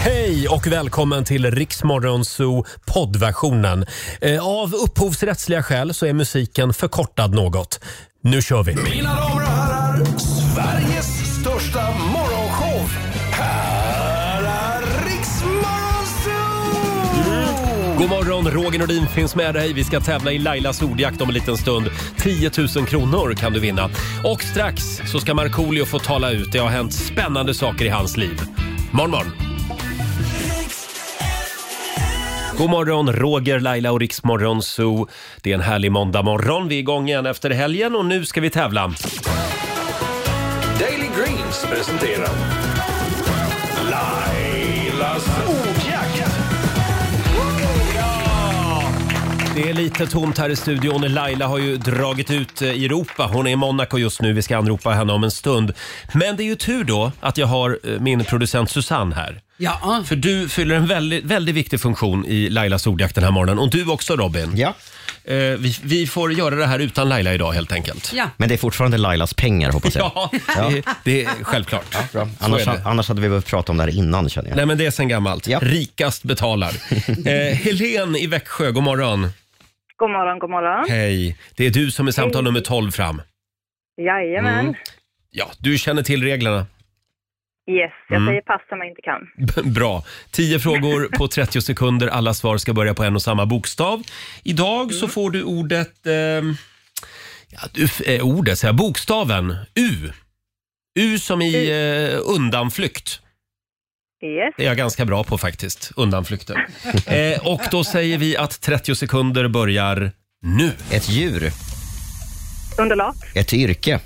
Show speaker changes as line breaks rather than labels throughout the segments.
Hej och välkommen till Riksmorgonzoo poddversionen. Eh, Av upphovsrättsliga skäl så är musiken förkortad något. Nu kör vi!
Mina damer och herrar, Sveriges största morgonshow. Här är Riksmorgonzoo!
God morgon, Roger Nordin finns med dig. Vi ska tävla i Lailas ordjakt om en liten stund. 10 000 kronor kan du vinna. Och strax så ska Markoolio få tala ut. Det har hänt spännande saker i hans liv. Morgon, morgon! God morgon, Roger, Laila och Riksmorgon Zoo. Det är en härlig måndagmorgon. Vi är igång igen efter helgen och nu ska vi tävla.
Daily Greens presenterar Lailas ordjakt.
Det är lite tomt här i studion. Laila har ju dragit ut eh, i Europa. Hon är i Monaco just nu. Vi ska anropa henne om en stund. Men det är ju tur då att jag har eh, min producent Susanne här.
Ja,
För du fyller en väldigt, väldigt viktig funktion i Lailas ordjakt den här morgonen. Och du också Robin.
Ja,
Eh, vi, vi får göra det här utan Laila idag helt enkelt.
ja.
men det är fortfarande Lailas pengar hoppas jag.
Ja, Det, det är självklart.
Bra.
Så
Annars,
är det.
annars hade vi behövt prata om det här innan känner jag.
Nej men det är sen gammalt.
Ja.
Rikast betalar. Eh, Helen i Växjö, god morgon.
God morgon, god morgon.
Hej. Det är du som är samtal nummer 12 fram.
Jajamän.
Mm.
Mm.
Ja, du känner till reglerna.
Yes, jag säger pass som jag inte kan.
Bra. 10 frågor på 30 sekunder. Alla svar ska börja på en och samma bokstav. Idag så får du ordet... Eh, ja, du, eh, ordet, säger jag. Bokstaven U. U som i eh, undanflykt.
Yes,
Det är jag ganska bra på faktiskt. Undanflykter. Eh, och då säger vi att 30 sekunder börjar nu.
Ett djur,
underlag,
ett yrke,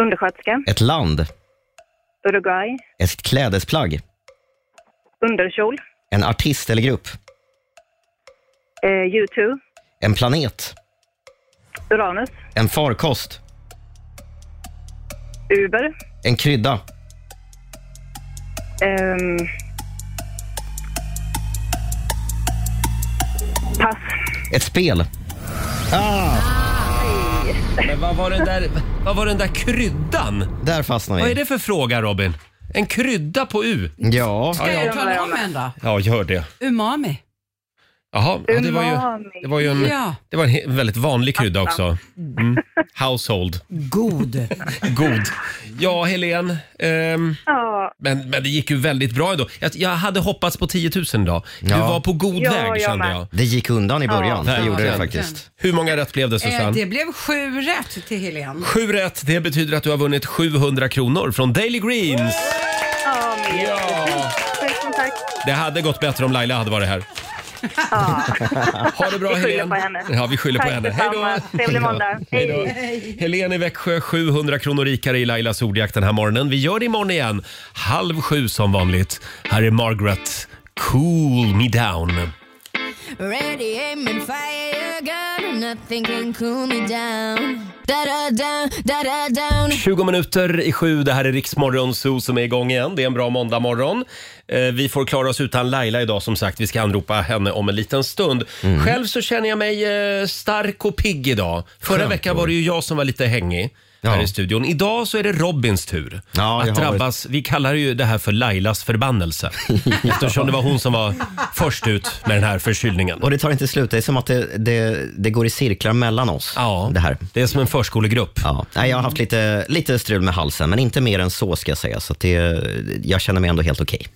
undersköterska,
ett land,
Uruguay,
ett klädesplagg,
underkjol,
en artist eller grupp,
eh, U2,
en planet,
Uranus,
en farkost,
Uber,
en krydda,
ehm, pass,
ett spel, Ah!
Men vad var den där, vad var den där kryddan?
där fastnar
Vad är
vi.
det för fråga Robin? En krydda på U?
Ja,
Ska jag
Ja,
tala
ja.
om en då?
Ja, gör det.
Umami.
Jaha, ja, det var ju,
Umami.
det var ju en,
Ja.
det var en he- väldigt vanlig krydda också. Mm. Household.
God.
God. Ja, Helen. ehm,
ja,
men, men det gick ju väldigt bra ändå. Jag, jag hade hoppats på 10 000 idag. Du
Ja.
var på god
Ja, jag
väg kände
med.
jag.
det gick undan i början.
Ja,
det gjorde det
verkligen.
faktiskt.
Hur många rätt blev det
Eh,
Susanne?
det blev sju rätt till Helene.
Sju rätt. Det betyder att du har vunnit 700 kronor från Daily Greens.
ja, men
Ja.
tusen tack.
Det hade gått bättre om Laila hade varit här.
Ah.
Ha det bra
Vi skyller
Helen.
på henne.
Ja, vi skyller
Tack
på henne. Hej då.
detsamma. Trevlig måndag.
Hej då. Helen i Växjö, 700 kronor rikare i Lailas ordjakt den här morgonen. Vi gör det imorgon igen, halv sju som vanligt. Här är Margaret, Cool Me Down.
Ready, aim, and fire your gun, and nothing can cool me down. Da da down, da da down.
20 minuter i sju, det här är Riksmorgon Zoo som är igång igen. Det är en bra måndagmorgon. Eh, vi får klara oss utan Laila idag som sagt. Vi ska anropa henne om en liten stund.
Mm.
Själv så känner jag mig eh, stark och pigg idag. Förra
Skönt,
veckan
Roger.
var det ju jag som var lite hängig. Här
Ja.
i studion. Idag så är det Robins tur
Ja,
att
jag har varit-
drabbas. Vi kallar ju det här för Lailas förbannelse. Eftersom det var hon som var först ut med den här förkylningen.
Och det tar inte slut. Det är som att det, det, det går i cirklar mellan oss.
Ja,
Det här.
det är som en förskolegrupp.
Ja. Nej, jag har haft lite, lite strul med halsen, men inte mer än så ska jag säga. Så att det, jag känner mig ändå helt okej.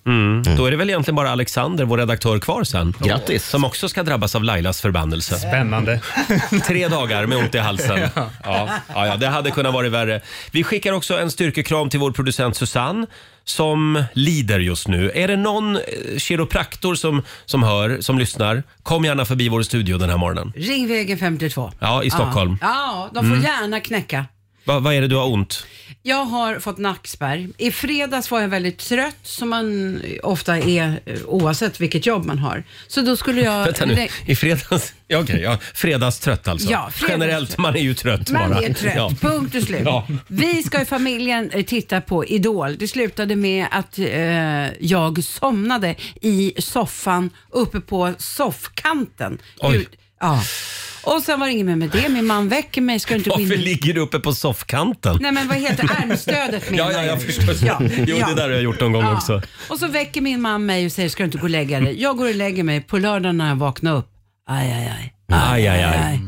Då är det väl egentligen bara Alexander, vår redaktör, kvar sen.
Grattis.
Som också ska drabbas av Lailas förbannelse.
Spännande.
Tre dagar med ont i halsen. Ja. Ja, ja, det hade kunnat vara värre. Vi skickar också en styrkekram till vår producent Susanne som lider just nu. Är det någon eh, kiropraktor som, som hör, som lyssnar, kom gärna förbi vår studio den här morgonen.
Ringvägen 52.
Ja, i Stockholm. Mm.
Ja, de får gärna knäcka.
Va, vad är det du har ont?
Jag har fått nackspärr. I fredags var jag väldigt trött som man ofta är eh, oavsett vilket jobb man har. Så då skulle jag...
Vänta nu, i fredags... Ja, okej, ja. Fredagstrött alltså.
Ja, fredags-
Generellt, man är ju trött
Man
bara.
är trött,
Ja.
punkt och slut.
Ja.
Vi ska i familjen eh, titta på Idol. Det slutade med att eh, jag somnade i soffan uppe på soffkanten.
Oj.
Ut- Ja. Och sen var det inget mer med det. Min man väcker mig, ska du inte gå
Varför
in?
ligger du uppe på soffkanten?
Nej men vad heter armstödet menar
Ja, ja, jag förstår. Jo, det där har jag gjort någon gång
Ja.
också.
Och så väcker min man mig och säger, ska du inte gå och lägga dig? Jag går och lägger mig. På lördagen när jag vaknar upp, aj, aj, aj.
Aj, aj, aj.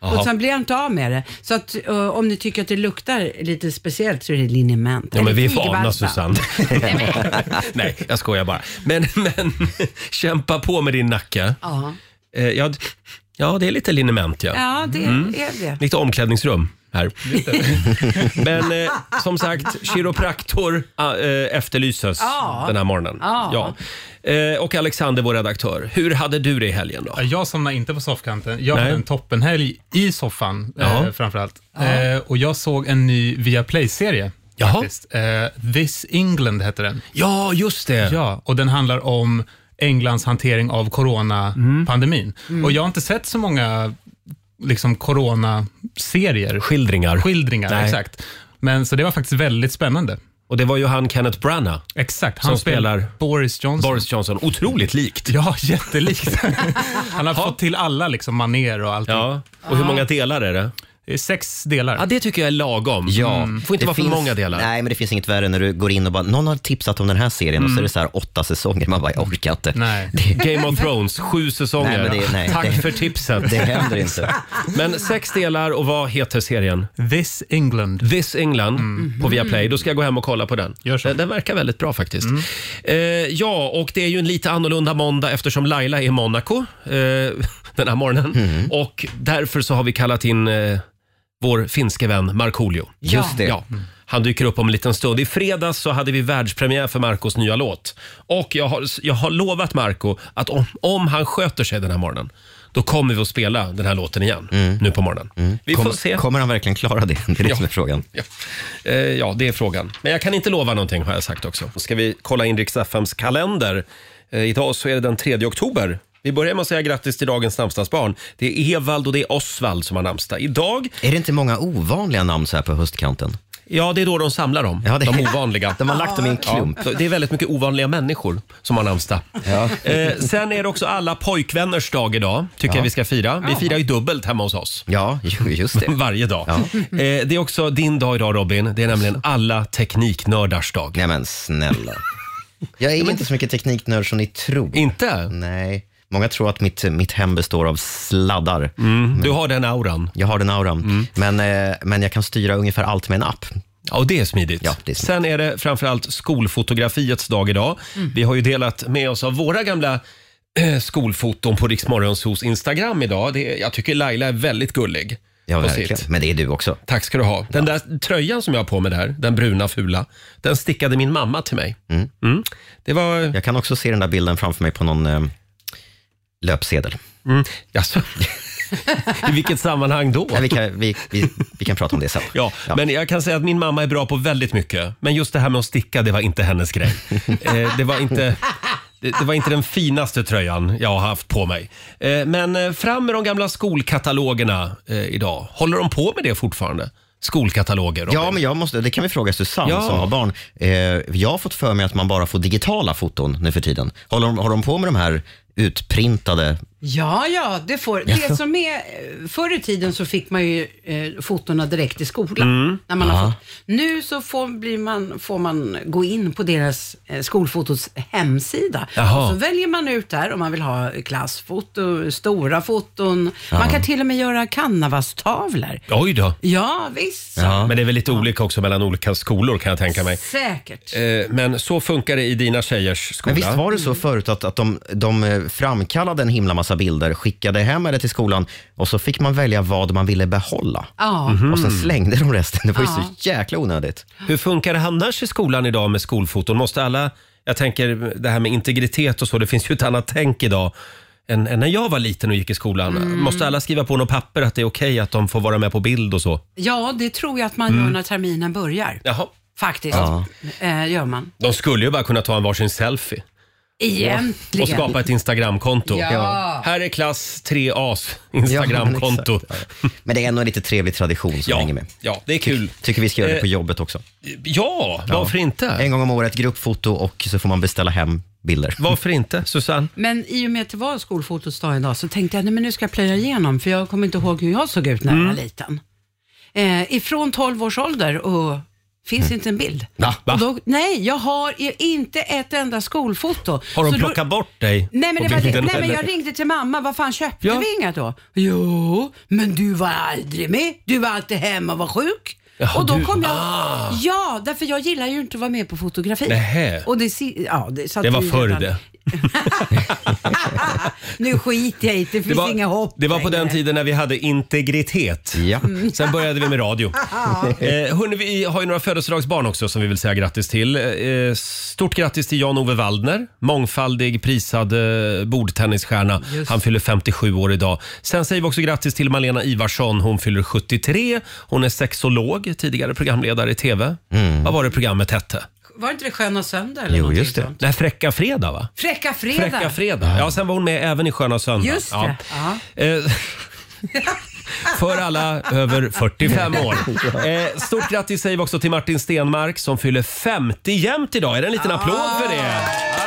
Jaha.
Och sen blir jag inte av med det. Så att, eh, om ni tycker att det luktar lite speciellt så är det liniment.
Ja,
Eller
men vi är
tigervalpa.
vana Susanne. Nej, jag skojar bara. Men, men kämpa på med din nacke.
Ja,
Eh, ja, d- ja, det är lite liniment ja. Mm.
ja det är det.
Lite omklädningsrum här. Men eh, som sagt, kiropraktor ah, eh, efterlyses
Ja.
den här morgonen.
Ja.
Ja. Eh, och Alexander, vår redaktör. Hur hade du det i helgen då?
Ja, Jag somnade inte på soffkanten. Jag
Nej.
hade en toppenhelg i soffan
Ja.
eh, framförallt. Eh, och jag såg en ny Viaplay-serie.
Jaha.
faktiskt. Eh, This England heter den.
Ja, just det.
Ja, och den handlar om Englands hantering av coronapandemin.
Mm.
Och jag har inte sett så många liksom, coronaserier.
Skildringar.
Skildringar,
Nej.
exakt. Men så det var faktiskt väldigt spännande.
Och det var ju han Kenneth Branagh,
Exakt.
Som
Han spelar,
spelar
Boris Johnson.
Boris Johnson. Otroligt likt.
Ja, jättelikt. Han har fått till alla liksom, maner och allt.
Ja. Och hur många delar är det?
Det är sex delar.
Ja, det tycker jag är lagom. Ja. Mm. Får inte
Det
vara för
finns-
många delar.
Nej, men det finns inget värre när du går in och bara, någon har tipsat om den här serien och så är det så här åtta säsonger. Man bara, jag orkar inte.
Nej.
Det,
Game of Thrones, sju
Nej,
säsonger.
men det- nej,
Tack
det-
för tipset.
det händer inte.
Men sex delar och vad heter serien?
This England. Mm. Mm-hmm.
This England på Viaplay. Då ska jag gå hem och kolla på den.
Gör så. Mm.
Den, den verkar väldigt bra faktiskt. Eh, ja, och det är ju en lite annorlunda måndag eftersom Laila är i Monaco eh, den här morgonen.
Mm.
Och därför så har vi kallat in eh, vår finske vän Markoolio.
Just det.
Ja. Han dyker upp om en liten stund. I fredags så hade vi världspremiär för Marcos nya låt. Och jag har, jag har lovat Marco att om, om han sköter sig den här morgonen, då kommer vi att spela den här låten igen nu på morgonen. Vi får
Kom,
se.
Mm. Kommer han verkligen klara det? Det är det
Ja.
som är frågan.
Ja. Eh, ja, det är frågan. Men jag kan inte lova någonting har jag sagt också. Ska vi kolla in Rix FMs kalender. Eh, idag så är det den 3 oktober. Vi börjar med att säga grattis till dagens namnsdagsbarn. Det är Evald och det är Osvald som har namnsdag. Idag,
Är det inte många ovanliga namn så här på höstkanten?
ja det är då de samlar dem,
Ja, det-
de ovanliga.
De har lagt dem i en klump.
Ja, det är väldigt mycket ovanliga människor som har namnsdag. Eh, sen är det också alla pojkvänners dag idag, tycker jag vi ska fira. Vi firar ju dubbelt hemma hos oss.
Ja, ju- just det.
Varje dag. Eh, det är också din dag idag Robin. Det är nämligen alla tekniknördars dag.
Nej men snälla. Jag är inte så mycket tekniknörd som ni tror.
Inte?
Nej. Många tror att mitt, mitt hem består av sladdar.
Mm. Du har den auran. Mm.
Jag har den auran. Men, eh, men jag kan styra ungefär allt med en app.
Ja, och det är smidigt.
Ja, det är smidigt.
Sen är det framförallt skolfotografiets dag idag.
Mm.
Vi har ju delat med oss av våra gamla eh, skolfoton på Riksmorgonsos Instagram idag. Det är, jag tycker Laila är väldigt gullig.
Ja,
på
verkligen.
sitt.
Men det är du också.
Tack ska du ha. Den där tröjan som jag har på mig där, den bruna fula, den stickade min mamma till mig. Mm. Det var
Jag kan också se den där bilden framför mig på någon eh, löpsedel.
Jaså? I vilket sammanhang då?
Ja, vi, kan, vi, vi, vi kan prata om det sen.
Ja, men jag kan säga att min mamma är bra på väldigt mycket. Men just det här med att sticka, det var inte hennes grej. eh, det, var inte, det, det var inte den finaste tröjan jag har haft på mig. Eh, men eh, fram med de gamla skolkatalogerna eh, idag. Håller de på med det fortfarande? Skolkataloger? Robin?
Ja, men jag måste, det kan vi fråga Susanne
Ja.
som har barn. Eh, jag har fått för mig att man bara får digitala foton nu för tiden. Håller de, har de på med de här utprintade?
Ja, ja, det får. Det som är, eh, förr i tiden så fick man ju eh, fotona direkt i skolan.
Mm.
När man har fått. Nu så får, blir man, får man gå in på deras eh, skolfotos hemsida.
Jaha.
Och så väljer man ut där om man vill ha klassfoto, stora foton. Man kan till och med göra Canvas-tavlor.
Oj då.
Ja, visst.
Men det är väl lite olika också mellan olika skolor kan jag tänka mig.
Säkert.
Eh, Men så funkar det i dina tjejers skola.
Men visst var det så förut att, att de, de eh, framkallade en himla massa bilder, skickade hem eller till skolan och så fick man välja vad man ville behålla.
Ja.
Och sen slängde de resten. Det var ju så jäkla onödigt.
Hur funkar det annars i skolan idag med skolfoton? Måste alla, jag tänker det här med integritet och så, det finns ju ett annat tänk idag än, än när jag var liten och gick i skolan.
Mm.
Måste alla skriva på något papper att det är okej att de får vara med på bild och så?
Ja, det tror jag att man gör när terminen börjar.
Mm. Jaha.
Faktiskt. Eh, gör man.
De skulle ju bara kunna ta en varsin selfie
Egentligen.
och skapa ett Instagramkonto.
Ja.
Här är klass 3As Instagramkonto.
Ja, men exakt. Ja. Men det är ändå en lite trevlig tradition som hänger
Ja,
med.
ja, det är kul.
Tycker vi ska göra det på
Eh,
jobbet också.
Ja, varför inte?
En gång om året, gruppfoto och så får man beställa hem bilder.
Varför inte, Susanne?
Men i och med att det var skolfotots dag idag så tänkte jag, nej men nu ska jag plöja igenom, för jag kommer inte ihåg hur jag såg ut när
Mm.
jag var liten. Eh, ifrån 12 års ålder och finns inte en bild.
Mm. Va? Va?
Och Då, nej, jag har ju inte ett enda skolfoto.
Har de
Så då-
plockat bort dig?
Nej men,
på
det var,
bilden,
nej men
eller?
jag ringde till mamma, vad fan köpte
Ja.
vi inget då? Jo, men du var aldrig med, du var alltid hemma och var sjuk.
Jaha,
och då
du-
kom jag,
ah.
ja därför jag gillar ju inte att vara med på fotografi.
Nähä.
Och det, si- ja, det, så att
Det var
vi
förr
redan-
det.
nu skiter jag i det, det
Det
finns inga hopp
var, det var på den
längre.
tiden när vi hade integritet.
Ja.
Sen började vi med radio. eh, hörni, vi har ju några födelsedagsbarn också som vi vill säga grattis till. Eh, stort grattis till Jan-Ove Waldner, mångfaldig prisad eh, bordtennisstjärna. Han fyller 57 år idag. Sen säger vi också grattis till Malena Ivarsson. Hon fyller 73. Hon är sexolog, tidigare programledare i TV. Vad var det programmet hette?
Var inte det Sköna Söndag eller
Mm. Jo,
någonting
just det.
sånt?
Det här Fräcka fredag, va?
Fräcka Fredag.
Fräcka fredag. Ja, sen var hon med även i Sköna söndag.
Just det,
Eh, För alla över 45 år. Eh, stort grattis säger vi också till Martin Stenmark som fyller 50 jämt idag. Är det en liten applåd för det? Ah.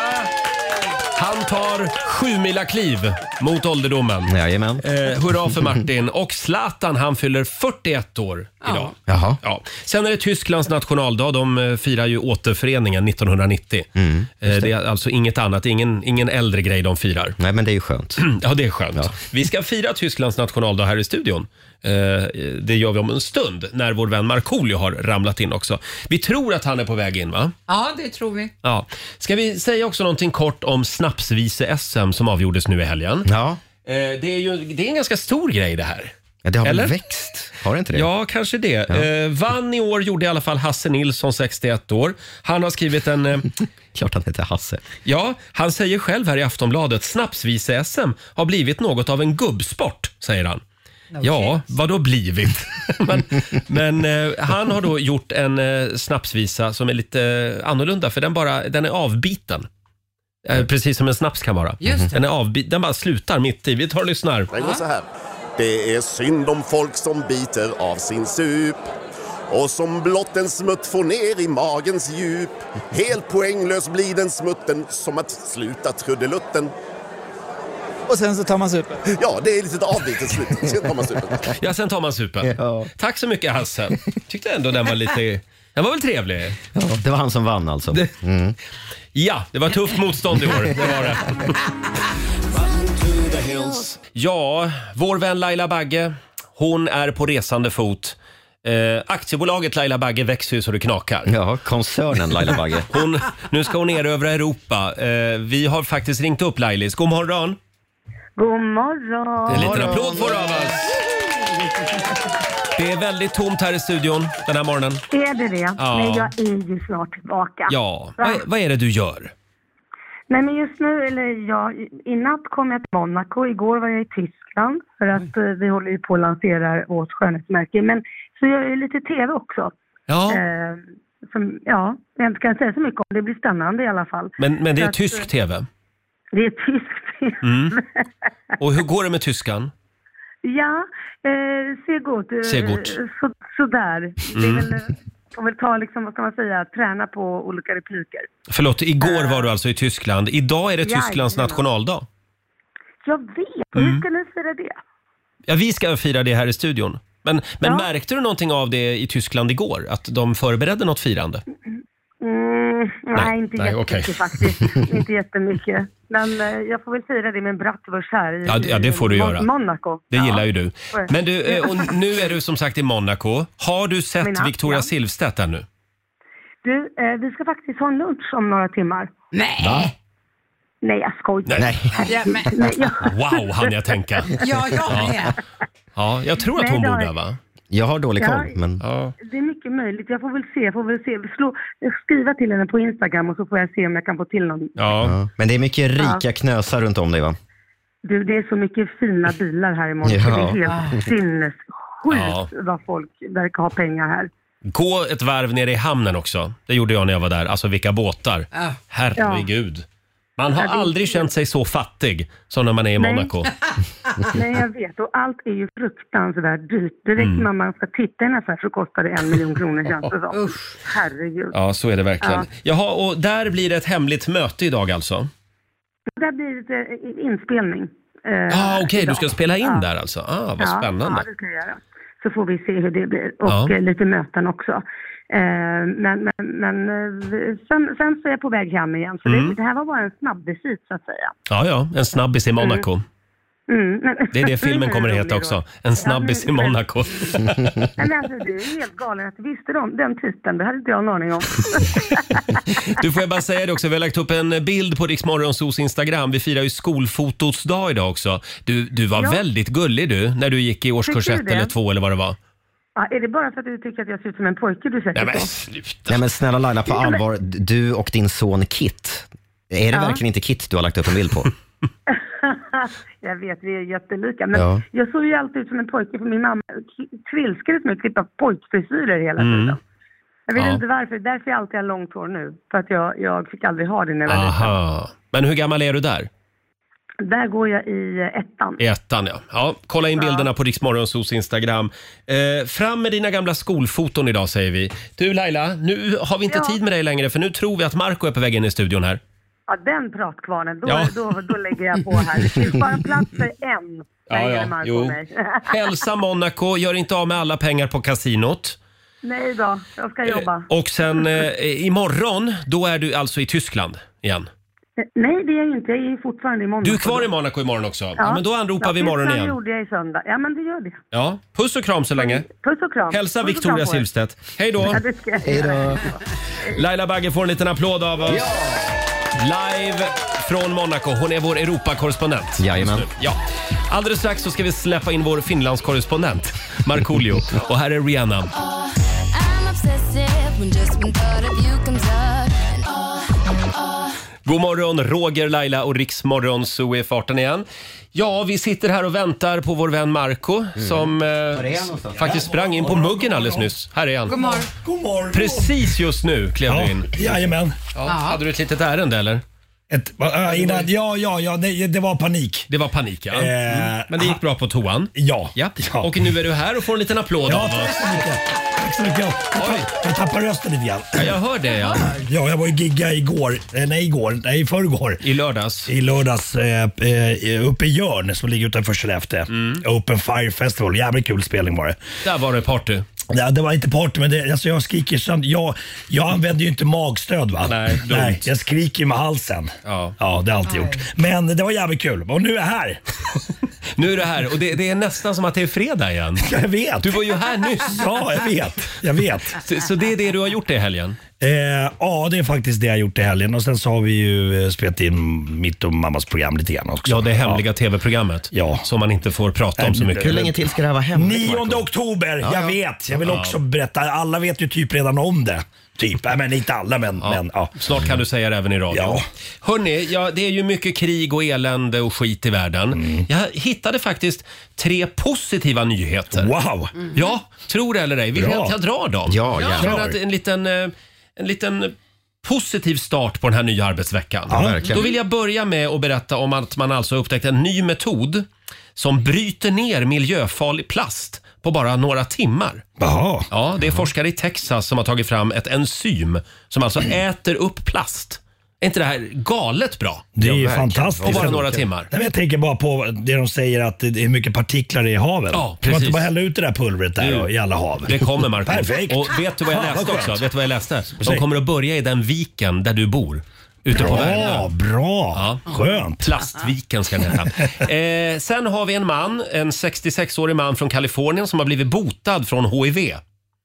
Han tar sju mila kliv mot ålderdomen.
Jajamän.
Eh, hurra för Martin. Och Zlatan han fyller 41 år idag.
Jaha.
Ja. Sen är det Tysklands nationaldag. De eh, firar ju återföreningen 1990. Eh, det är alltså inget annat, ingen, ingen äldre grej de firar.
Nej, men det är ju skönt.
Ja, det är skönt. Vi ska fira Tysklands nationaldag här i studion. Eh, Det gör vi om en stund när vår vän Markoolio har ramlat in också. Vi tror att han är på väg in, va?
Ja, det tror vi.
Ja. Ska vi säga också någonting kort om snapsvise-SM som avgjordes nu i helgen?
Ja,
Eh, Det är ju det är en ganska stor grej det här.
ja det har
Eller?
väl växt? Har det inte det?
Ja, kanske det. Eh, vann i år gjorde i alla fall Hasse Nilsson, 61 år. Han har skrivit en... Eh,
Klart han heter Hasse.
ja, han säger själv här i Aftonbladet, snapsvise-SM har blivit något av en gubbsport, säger han. Ja, vad då blivit? men men eh, han har då gjort en eh, snapsvisa som är lite eh, annorlunda för den, bara, den är avbiten. Eh, precis som en snaps kan vara.
Mm.
Mm-hmm.
Just det.
Den, är avbi- den bara slutar mitt i. Vi tar och lyssnar.
Den går så här. Det är synd om folk som biter av sin sup och som blott en smutt får ner i magens djup. Helt poänglös blir den smutten som att sluta trudelutten.
Och sen så tar man supen.
Ja, det är lite avbitet slut. Sen tar man supen.
Ja, sen tar man supen. Tack så mycket Hasse. Tyckte ändå den var lite... Den var väl trevlig?
Ja, det var han som vann alltså.
Ja, det var tufft motstånd i år. Det var det. Ja, vår vän Laila Bagge, hon är på resande fot. Eh, aktiebolaget Laila Bagge växer ju så det knakar.
Ja, koncernen Laila Bagge.
Hon, nu ska hon erövra Europa. Eh, vi har faktiskt ringt upp Lailis. God morgon!
God morgon.
En liten applåd får du av oss. Det är väldigt tomt här i studion den här morgonen.
Är det det?
Ja.
Men jag är ju snart tillbaka.
Ja,
Va?
vad, vad är det du gör?
Nej, men just nu, eller ja, i natt kom jag till Monaco. Igår var jag i Tyskland för att
Mm.
eh, vi håller ju på att lansera vårt skönhetsmärke. Men så gör jag ju lite TV också.
Ja,
Eh, som, ja, jag inte kan säga så mycket om. Det blir spännande i alla fall.
men, men det
så
är
att, eh,
tysk tv.
Det är tysk TV.
Och hur går det med tyskan?
Ja, eh, ser gott. Eh,
Ser gott. Mm.
Så, sådär. Det är väl, eh, får väl ta, liksom, vad ska man säga, träna på olika repliker.
Förlåt, igår var du alltså i Tyskland. Idag är det
Ah. Jajamän.
Tysklands nationaldag.
Jag vet! Och
Mm.
hur ska ni fira det?
Ja, vi ska fira det här i studion. Men, men
Ja.
märkte du någonting av det i Tyskland igår? Att de förberedde något firande?
Mm, nej,
Nej,
inte
nej,
jättemycket
okej.
faktiskt. inte jättemycket. Men eh, jag får väl fira det med en bratwurst här i,
Ja, det- ja, det får du
i
göra.
Mm. Monaco.
Det
ja.
gillar ju du.
får jag.
Men du, eh, och nu är du som sagt i Monaco. Har du sett
Mina,
Victoria
ja.
Silvstedt ännu?
Du, eh, vi ska faktiskt ha en lunch om några timmar.
Nej,
Nej, jag skojar.
Nej.
ja, men,
Nej, jag,
Wow, hann jag tänka.
ja, jag med.
Ja, jag tror att
Nej,
hon
det
bor
har-
där va?
Jag har dålig
Ja.
koll, men
Ja.
det är mycket möjligt. Jag får väl se. Jag får väl se. Slå, skriva till henne på Instagram och så får jag se om jag kan få till någon
ja.
Ja. Men det är mycket rika knösar runt om dig va?
Du, det är så mycket fina bilar här i Monaco.
Ja.
Det är helt
Ja.
sinnessjukt vad folk verkar ha pengar här.
Gå ett varv nere i hamnen också. Det gjorde jag när jag var där. Alltså vilka båtar.
Ja.
Herregud. Man har
Ja, det-
aldrig känt sig så fattig som när man är i
Nej.
Monaco.
Nej, jag vet. Och allt är ju fruktansvärt dyrt. Direkt
Mm.
när man ska titta i en affär så kostar det en miljon kronor känns det som. Herregud.
Ja, så är det verkligen.
Ja.
Jaha, och där blir det ett hemligt möte idag alltså?
Där blir det eh, inspelning.
Ja,
eh,
ah, okej, du
idag.
ska spela in
Ja.
där alltså? Ah, vad
ja,
spännande.
Ja, det ska jag göra. Så får vi se hur det blir och
Ja.
eh, lite möten också. Eh, men men, men eh, sen, sen så är jag på väg hem igen. Så
Mm.
det, det här var bara en snabbvisit så att säga.
Ja, ja, en snabbis i Monaco.
Mm, men,
Det är det filmen kommer att
rolig
heta
då.
också. En snabbis i
men-
Monaco.
Nej, Men alltså, du är helt galen att du visste de, den titeln. Det hade inte jag en aning om.
Du får jag bara säga det också, vi har lagt upp en bild på Rix Morgonzos Instagram. Vi firar ju skolfotots dag idag också. Du, du var
Ja.
väldigt gullig du, när du gick i årskurs
Tycker du
ett
det?
eller två eller vad det var.
Ja, är det bara för att du tycker att jag ser ut som en pojke du säger
Nej men
så?
sluta.
Nej men snälla Laila, på
men-
allvar, du och din son Kit. Är det
Ja.
verkligen inte Kit du har lagt upp en bild på?
jag vet, vi är jättelika. Men
Ja.
jag såg ju alltid ut som en pojke för min mamma k- trilskades med att klippa typ pojkfrisyrer hela
Mm.
tiden. Jag vet
Ja.
inte varför. Därför jag alltid har långt hår nu. För att jag, jag fick aldrig ha det när jag var liten.
Aha. Men hur gammal är du där?
Där går jag i eh, ettan.
I ettan ja. ja kolla in bilderna på Rix Morgonzos Instagram. Eh, fram med dina gamla skolfoton idag säger vi. Du Laila, nu har vi inte
Ja.
tid med dig längre för nu tror vi att Marco är på väg in i studion här.
Ja, den pratkvarnen. Då,
Ja.
då, då, lägger jag på här. Det finns bara plats för en. Där är det Marco och mig.
Hälsa Monaco, gör inte av med alla pengar på kasinot.
Nej då, jag ska jobba.
Och sen eh, imorgon, då är du alltså i Tyskland igen.
Nej, det är jag inte. Jag är fortfarande i Monaco.
Du är kvar i Monaco imorgon också. Ja, men då anropar
Ja,
vi imorgon
Tyskland
igen.
gjorde jag i söndag. Ja, men det gör det.
Ja, puss och kram så länge.
Puss och kram.
Hälsa
Puss och kram
Victoria
på er.
Silvstedt. Hej då!
Ja, det ska jag göra.
Laila Bagge får en liten applåd av oss. Live från Monaco. Hon är vår Europakorrespondent. just
Jajamän.
nu. Ja. Alldeles strax så ska vi släppa in vår Finlandskorrespondent Markoolio. Och här är Rihanna.
Oh, I'm obsessive when just one thought of you comes up. And oh, oh,
God morgon, Roger, Laila och Riksmorgon så är farten igen. Ja, vi sitter här och väntar på vår vän Marco som
Mm. är han
eh,
någonstans?
faktiskt sprang in på muggen alldeles nyss. Här är
God
han.
morgon.
God morgon!
Precis just nu klev du in.
Jajamän.
Ja. Hade du ett litet ärende eller?
Ett, va- äh, innan, ja, ja, ja, det, det var panik.
Det var panik ja. Mm.
Eh,
Men det gick bra på toan.
Ja.
Ja.
ja.
Och nu är du här och får en liten applåd
ja
av
tack
oss.
så mycket. Tack så mycket. Jag,
Oj.
tapp, jag tappar rösten lite grann.
Ja, jag hör det ja.
Ja, jag var ju gigga igår. Eh, nej, igår. Nej, i förrgår.
I lördags.
I lördags eh, eh, uppe i Jörn som ligger utanför Skellefteå. Open Fire Festival. Jävligt kul spelning var det.
Mm. Där var det party.
Ja, det var inte party, men det, alltså jag skriker sönder. Jag, jag använder ju inte magstöd. Va?
Nej, dumt.
jag skriker med halsen.
Ja.
det har jag alltid gjort. Men det var jävligt kul. Och nu är jag här.
Nu är du här och det, det är nästan som att det är fredag igen.
Jag vet.
Du var ju här nyss.
Ja, jag vet. Jag vet.
Så, så det är det du har gjort i helgen?
Eh, ja, det är faktiskt det jag har gjort i helgen. Och sen så har vi ju eh, spelat in mitt och mammas program lite grann också.
Ja, det hemliga tv-programmet
Ja.
som man inte får prata om så mycket.
Hur länge till ska det här vara hemligt?
9
Marco?
oktober, jag vet. Jag vill också berätta. Alla vet ju typ redan om det. Typ. Nej, men inte alla, men ja. Men, ja.
Snart kan du säga det även i radio.
Ja.
Hörni, ja, det är ju mycket krig och elände och skit i världen.
Mm.
Jag hittade faktiskt tre positiva nyheter.
Wow!
Ja, tror det eller ej. Vill ni
Bra.
att jag drar dem?
Ja,
jag
gärna.
känner att en liten, eh, en liten positiv start på den här nya arbetsveckan.
Ja, verkligen.
Då vill jag börja med att berätta om att man alltså har upptäckt en ny metod som bryter ner miljöfarlig plast på bara några timmar.
Jaha.
Ja, det är forskare i Texas som har tagit fram ett enzym som alltså äter upp plast. Är inte det här galet bra?
Det är ju
verkligen.
fantastiskt.
På bara några timmar.
Nej, men jag tänker bara på det de säger att det är mycket partiklar i haven.
Ja,
kan man inte
precis.
bara hälla ut det där pulvret där
Du,
då, i alla hav?
Mm. Det kommer Marco.
Perfekt.
Och vet du vad jag
Fan, vad
läste också?
skönt.
Vet du vad jag läste? De
Säg.
kommer att börja i den viken där du bor. Ute på Värmland.
Bra, bra. Skönt.
Plastviken ska den heta. Eh, sen har vi en man, en 66-årig man från Kalifornien som har blivit botad från HIV.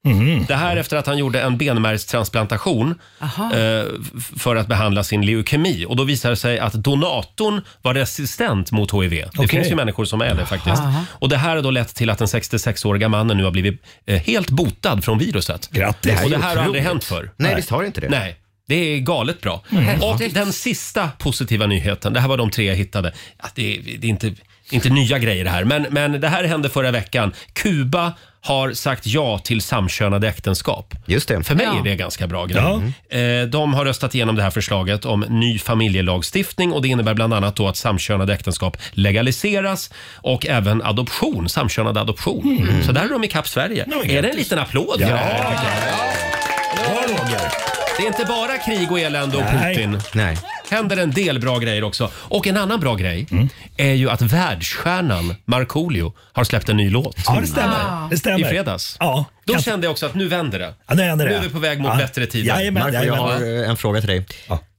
Mhm.
Det här efter att han gjorde en benmärgstransplantation eh, f- för att behandla sin leukemi. Och då visar det sig att donatorn var resistent mot HIV. Det
Okej.
finns ju människor som är det faktiskt. Och det här har då lett till att den 66-åriga mannen nu har blivit eh, helt botad från viruset.
Grattis.
Och det
Det här är
här har aldrig hänt förr.
Nej, visst har det Mm. inte det?
Nej, det är galet bra. Och den sista positiva nyheten, det här var de tre jag hittade. Ja, det, är, det, är inte, det är inte nya grejer det här, men, men det här hände förra veckan. Kuba har sagt ja till samkönade äktenskap.
Just det.
För mig
Ja.
är det ganska bra grej. Eh, De har röstat igenom det här förslaget om ny familjelagstiftning och det innebär bland annat då att samkönade äktenskap legaliseras och även adoption, samkönad adoption.
Mm.
Så där är de ikapp Sverige. är det en liten applåd? för det här, tycker jag?
Bra Roger!
Det är inte bara krig och elände och
Nej.
Putin.
Nej.
händer en del bra grejer också. Och en annan bra grej
Mm.
är ju att världsstjärnan Markoolio har släppt en ny låt. Ah.
Ja, det stämmer. Det stämmer.
I fredags.
Ja.
Då
Kanske-
kände jag också att nu vänder det.
Ja, nu händer det.
Nu är vi på väg mot
ja.
bättre tider.
Jajamän,
Marco, jag
jajamän.
har eh, en fråga till dig.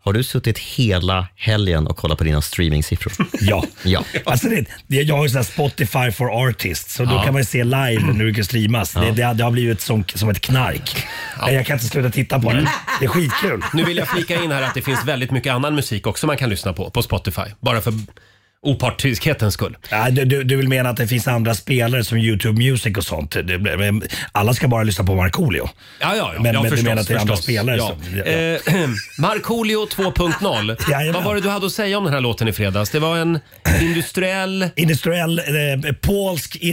Har du suttit hela helgen och kollat på dina streamingsiffror?
Ja.
Ja.
Alltså det, det, jag har ju sån här Spotify for Artists, så då kan man ju se live nu hur det streamas. Det, det, har- det har blivit som, som ett knark. Nej, Jag kan inte sluta titta på det. Det är skitkul.
Nu vill jag flika in här att det finns väldigt mycket annan musik också man kan lyssna på på Spotify. Bara för opartiskhetens skull.
Ja, du, du, du vill mena att det finns andra spelare som YouTube Music och sånt? Det, blir- men alla ska bara lyssna på Markoolio.
Ja, ja, ja.
Men-
ja,
men du
förstås,
menar att det är andra
förstås.
spelare
ja.
som- ja, ja.
Eh, Markoolio 2.0.
Jajamän.
Vad var det du hade att säga om den här låten i fredags? Det var en industriell...
Industriell, eh, polsk, eh,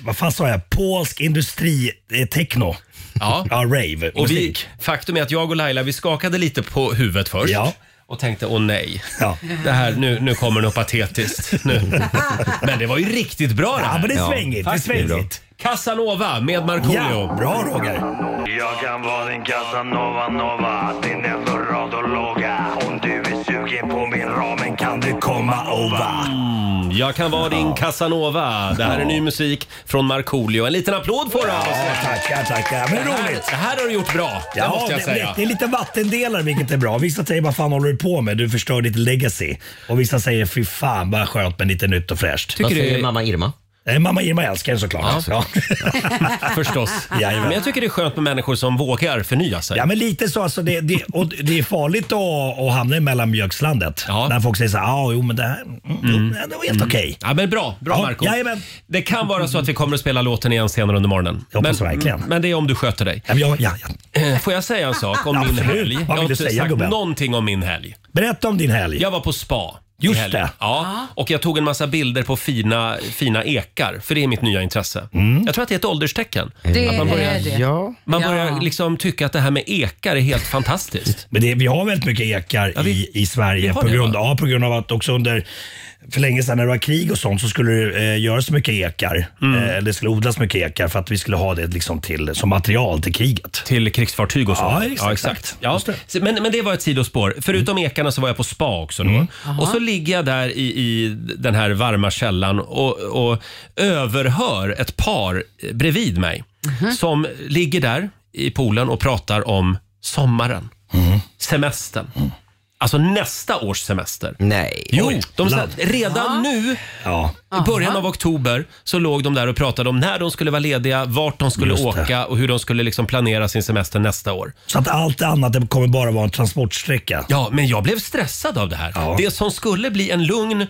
vad fan sa jag? Polsk industri, eh, techno.
Ja.
Ja, rave.
Och vi,
musik.
faktum är att jag och Laila vi skakade lite på huvudet först
Ja.
och tänkte åh nej.
Ja.
Det här, nu, nu kommer något patetiskt. Nu. Men det var ju riktigt bra det
ja,
här.
men det är
Ja,
svängigt. det är
faktiskt.
svängigt.
Casanova med Markoolio.
Ja, bra Roger.
Jag kan vara din Casanova Nova, din eldoradologa. Om du är sugen på min ramen kan du komma over.
Mm, Jag kan vara din Casanova. Det här är ny musik från Markoolio. En liten applåd får du av oss.
Ja, tackar, tackar. Men
Det här,
roligt.
det här har du gjort bra, det måste jag
det,
säga.
Det, det är lite vattendelare vilket är bra. Vissa säger vad fan håller du på med? Du förstör ditt legacy. Och vissa säger fy fan vad skönt med lite nytt och fräscht.
Vad
Tycker
säger
du-
mamma Irma?
Eh, Mamma Irma älskar den såklart. Ja.
Förstås.
Jajamän.
Men jag tycker det är skönt med människor som vågar förnya sig.
Ja men lite så. Alltså, det, det, och det är farligt att, att hamna i mellanmjölkslandet.
Ja. Mm.
När folk säger så här, ah, jo men det här mm, jo, det var helt okej.
Ja, men bra, bra
Ja,
Marco.
jajamän.
Det kan vara så att vi kommer att spela låten igen senare under morgonen.
Jag hoppas
men,
verkligen.
Men det är om du sköter dig.
Ja, men jag- ja, ja.
Eh, Får jag säga en sak om min
Absolut.
helg?
Vad
jag
vill
har
du
inte
säga,
sagt
gubben?
någonting om min helg.
Berätta om din helg.
Jag var på spa. i
Just
helgen.
det.
Ja, och jag tog en massa bilder på fina, fina ekar, för det är mitt nya intresse.
Mm.
Jag tror att det är ett ålderstecken.
Det
man börjar-
är det.
Ja.
Man
Ja.
börjar liksom tycka att det här med ekar är helt fantastiskt.
Men det, vi har väldigt mycket ekar
vi-
i, i Sverige
har
på
det,
grund,
va?
ja, på grund av att också under för länge sedan när det var krig och sånt så skulle det eh, göras mycket ekar.
Mm.
Eh, eller det skulle odlas mycket ekar för att vi skulle ha det liksom till, som material till kriget.
Till krigsfartyg och så.
Ja, exakt.
Ja.
Just det. Mm.
Så- Men, men det var ett sidospår. Förutom ekarna så var jag på spa också. Då. Och så ligger jag där i, i den här varma källan och, och överhör ett par bredvid mig
Mhm.
som ligger där i poolen och pratar om sommaren,
Mm.
semestern. Alltså nästa års semester.
Nej.
Jo,
Oj,
de
land.
satt, redan nu
Ja.
i början av oktober så låg de där och pratade om när de skulle vara lediga, vart de skulle
Just det.
åka och hur de skulle liksom planera sin semester nästa år.
Så att allt annat det kommer bara vara en transportsträcka.
Ja, men jag blev stressad av det här.
Ja.
Det som skulle bli en lugn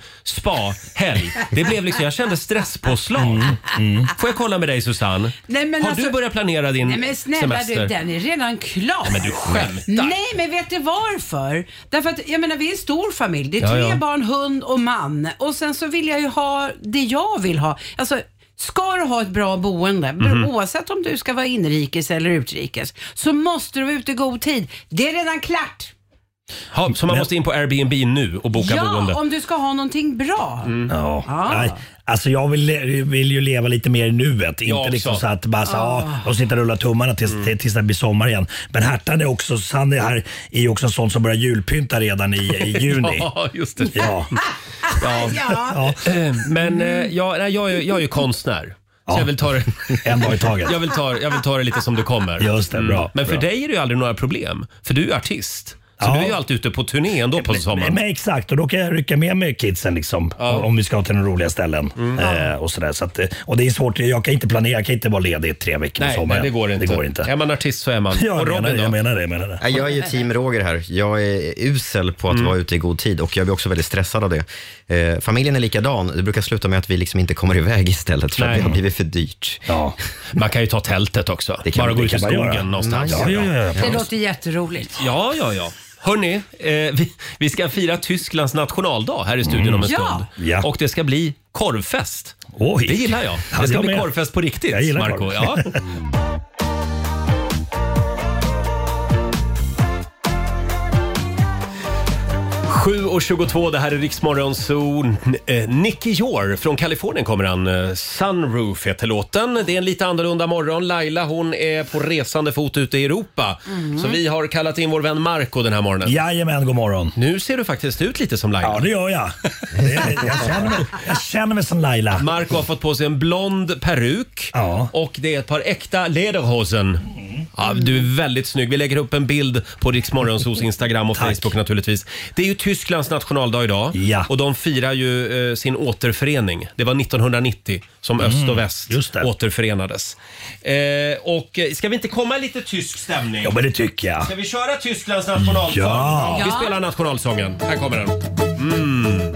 spa-helg, det blev liksom, jag kände stresspåslag.
Mm,
Får jag kolla med dig Susanne?
Nej, men
Har du
alltså-
börjat planera din
Nej men snälla
semester?
du, den är redan klar.
Men du skämtar.
Nej men vet du varför? Därför att jag menar vi är en stor familj. Det är
Ja,
tre
ja.
barn, hund och man. Och sen så vill jag ju ha det jag vill ha. Alltså, Ska du ha ett bra boende,
Mhm.
oavsett om du ska vara inrikes eller utrikes, så måste du vara ute i god tid. Det är redan klart.
Ha, så man måste in på Airbnb nu och boka
ja,
boende?
om du ska ha någonting bra.
Mm.
Ja.
Ah.
Nej, alltså jag vill, vill ju leva lite mer i nuet.
Jag
Inte liksom
också.
så att bara så,
Ah.
ja, och sitta och rulla tummarna tills,
Mm.
till- tills det blir sommar igen. Men Hertan är också, Sanne här är ju också en sån som börjar julpynta redan i, i juni.
Ja, just det.
Ja.
Ja.
Ja.
Eh, Men eh, jag, nej, jag, är- jag är ju konstnär. Så jag vill ta det...
En dag i taget.
Jag vill, ta, jag vill ta det lite som det kommer. Mm.
Just det, bra,
Men för
bra.
dig är det ju aldrig några problem, för du är artist. Så
Ja.
du är ju alltid ute på turné ändå på sommaren.
Men exakt, och då kan jag rycka med mig kidsen liksom, om vi ska till några roliga ställen.
Mm.
Eh, och, sådär. Så att, eh, och det är svårt, jag kan inte planera, jag kan inte vara ledig i tre veckor på
nej,
sommaren.
nej, det går inte.
Det går inte.
Är man artist så är man.
Ja,
och
jag,
Robin
menar, det,
då?
jag menar det, jag menar det. Mm.
Nej, Jag är ju team Roger här. Jag är usel på att vara ute i god tid och jag blir också väldigt stressad av det. Eh, familjen är likadan. Det brukar sluta med att vi liksom inte kommer iväg istället för
Nej.
att det har blivit för dyrt.
Ja.
Man kan ju ta tältet också.
Det kan-
Bara gå
det
ut i
kan man
skogen
göra.
någonstans.
Ja, ja, ja, ja.
Det låter jätteroligt.
Ja, ja, ja. Hörni, eh, vi, vi ska fira Tysklands nationaldag här i studion om en
Ja.
stund. Och det ska bli korvfest.
Mm. Oj.
Det gillar jag.
Ja,
Det ska
jag
bli
med.
korvfest på riktigt,
Jag gillar
Marco.
korv.
Ja. Sju och 22, det här är Riksmorgon Zoo. N- eh, Nicky Jor från Kalifornien kommer han. Eh, Sunroof heter låten. Det är en lite annorlunda morgon. Laila hon är på resande fot ute i Europa.
Mm.
Så vi har kallat in vår vän Marco den här morgonen.
Jajamän, god morgon.
Nu ser du faktiskt ut lite som Laila.
Ja, det gör jag. Det, jag, känner mig, jag känner mig som Laila.
Marco har fått på sig en blond peruk och det är ett par äkta lederhosen. Ja, du är väldigt snygg. Vi lägger upp en bild på Rix Morgonzos Instagram och Facebook naturligtvis. Det är ju Tysklands nationaldag idag och de firar ju eh, sin återförening. Det var 1990 som
Mm,
öst och väst återförenades. Eh, och eh, ska vi inte komma i lite tysk stämning?
Ja, men det tycker jag.
Ska vi köra Tysklands nationalsång?
Ja.
Vi spelar nationalsången. Här kommer den. Mm.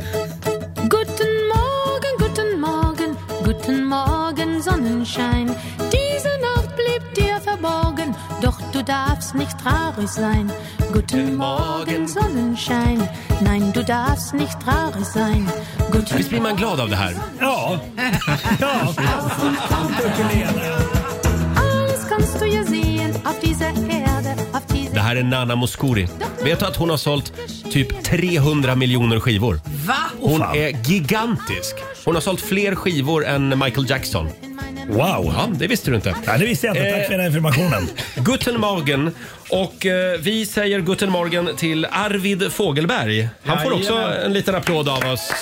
Guten Morgen, guten Morgen, guten Morgen, Sonnenschein. Diese Nacht blieb dir verborgen, doch du darfst nicht traurig sein. Guten Morgen, Sonnenschein. Nein, du darfst nicht traurig sein.
Visst blir man glad av det här?
Ja. ja.
Alles kannst du ja sehen auf dieser Erde, auf dieser
Det här är Nana Mouskouri. Vet du att hon har sålt typ 300 miljoner skivor?
Va?
Hon är gigantisk. Hon har sålt fler skivor än Michael Jackson.
Wow!
Ja, det visste du inte. Eh,
Ja, det visste jag inte. Tack för den informationen.
Guten Morgen. Och eh, vi säger Guten Morgen till Arvid Fogelberg. Han får också
Jajamän.
en liten applåd av oss.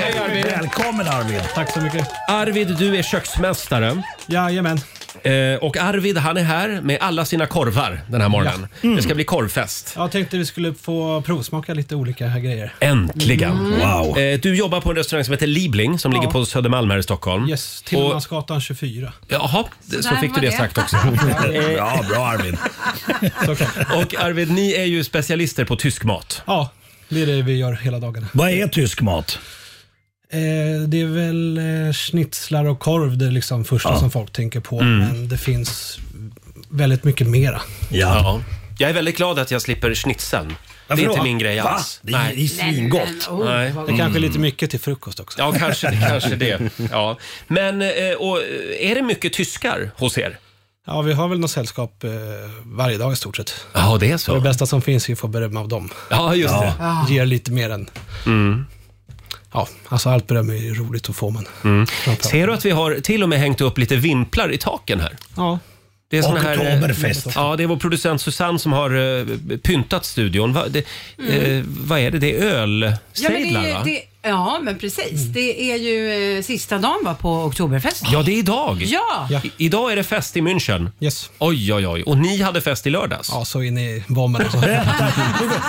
Hej Arvid!
Välkommen Arvid!
Tack så mycket.
Arvid, du är köksmästare.
Jajamän.
Eh, och Arvid, han är här med alla sina korvar den här morgonen.
Ja. Mm.
Det ska bli korvfest.
Jag tänkte vi skulle få provsmaka lite olika här grejer.
Äntligen!
Mm. Wow.
Eh, Du jobbar på en restaurang som heter Liebling som
Ja.
ligger på Södermalm här i Stockholm.
Yes,
och,
Tillmansgatan 24.
Jaha, så,
Så där
fick du
var
det
det.
sagt också.
Bra,
bra Arvid.
och Arvid, ni är ju specialister på tysk mat.
Ja, det är det vi gör hela dagarna.
Vad är tysk mat?
Eh, det är väl eh, schnitzlar och korv det är liksom första
Ja.
som folk tänker på.
Mm.
Men det finns väldigt mycket mera.
Ja. Jag är väldigt glad att jag slipper schnitzeln. Det är
Varför
inte
då?
min grej
Va?
alls.
Det är- det är svingott. Men, oh,
Nej. Mm.
vad Det kanske är lite mycket till frukost också.
Ja, kanske, det- kanske det. Ja. Men eh, och, eh, är det mycket tyskar hos er?
Ja, vi har väl något sällskap eh, varje dag i stort sett.
Ja, det är så.
Det bästa som finns är att få beröm av dem.
Ja, just det.
Ja. Ger lite mer än...
Mm.
Ja, alltså allt beröm är ju roligt att få, men...
Mm. Ser du att vi har till och med hängt upp lite vimplar i taken här?
Ja.
Det är
Och
såna här, eh,
Oktoberfest.
Ja, det är vår producent Susanne som har eh, pyntat studion. Va, det, eh, vad är det? Det är
Mm. Ja men, det
ölsejdlar,
är
va? Mm.
ju, det, ja, men precis. Det är ju eh, sista dagen va, på Oktoberfest.
Ja, det är idag.
Ja. Ja.
I, idag är det fest i München.
Yes.
Oj, oj, oj. Och ni hade fest i lördags.
Ja, så in i bomben.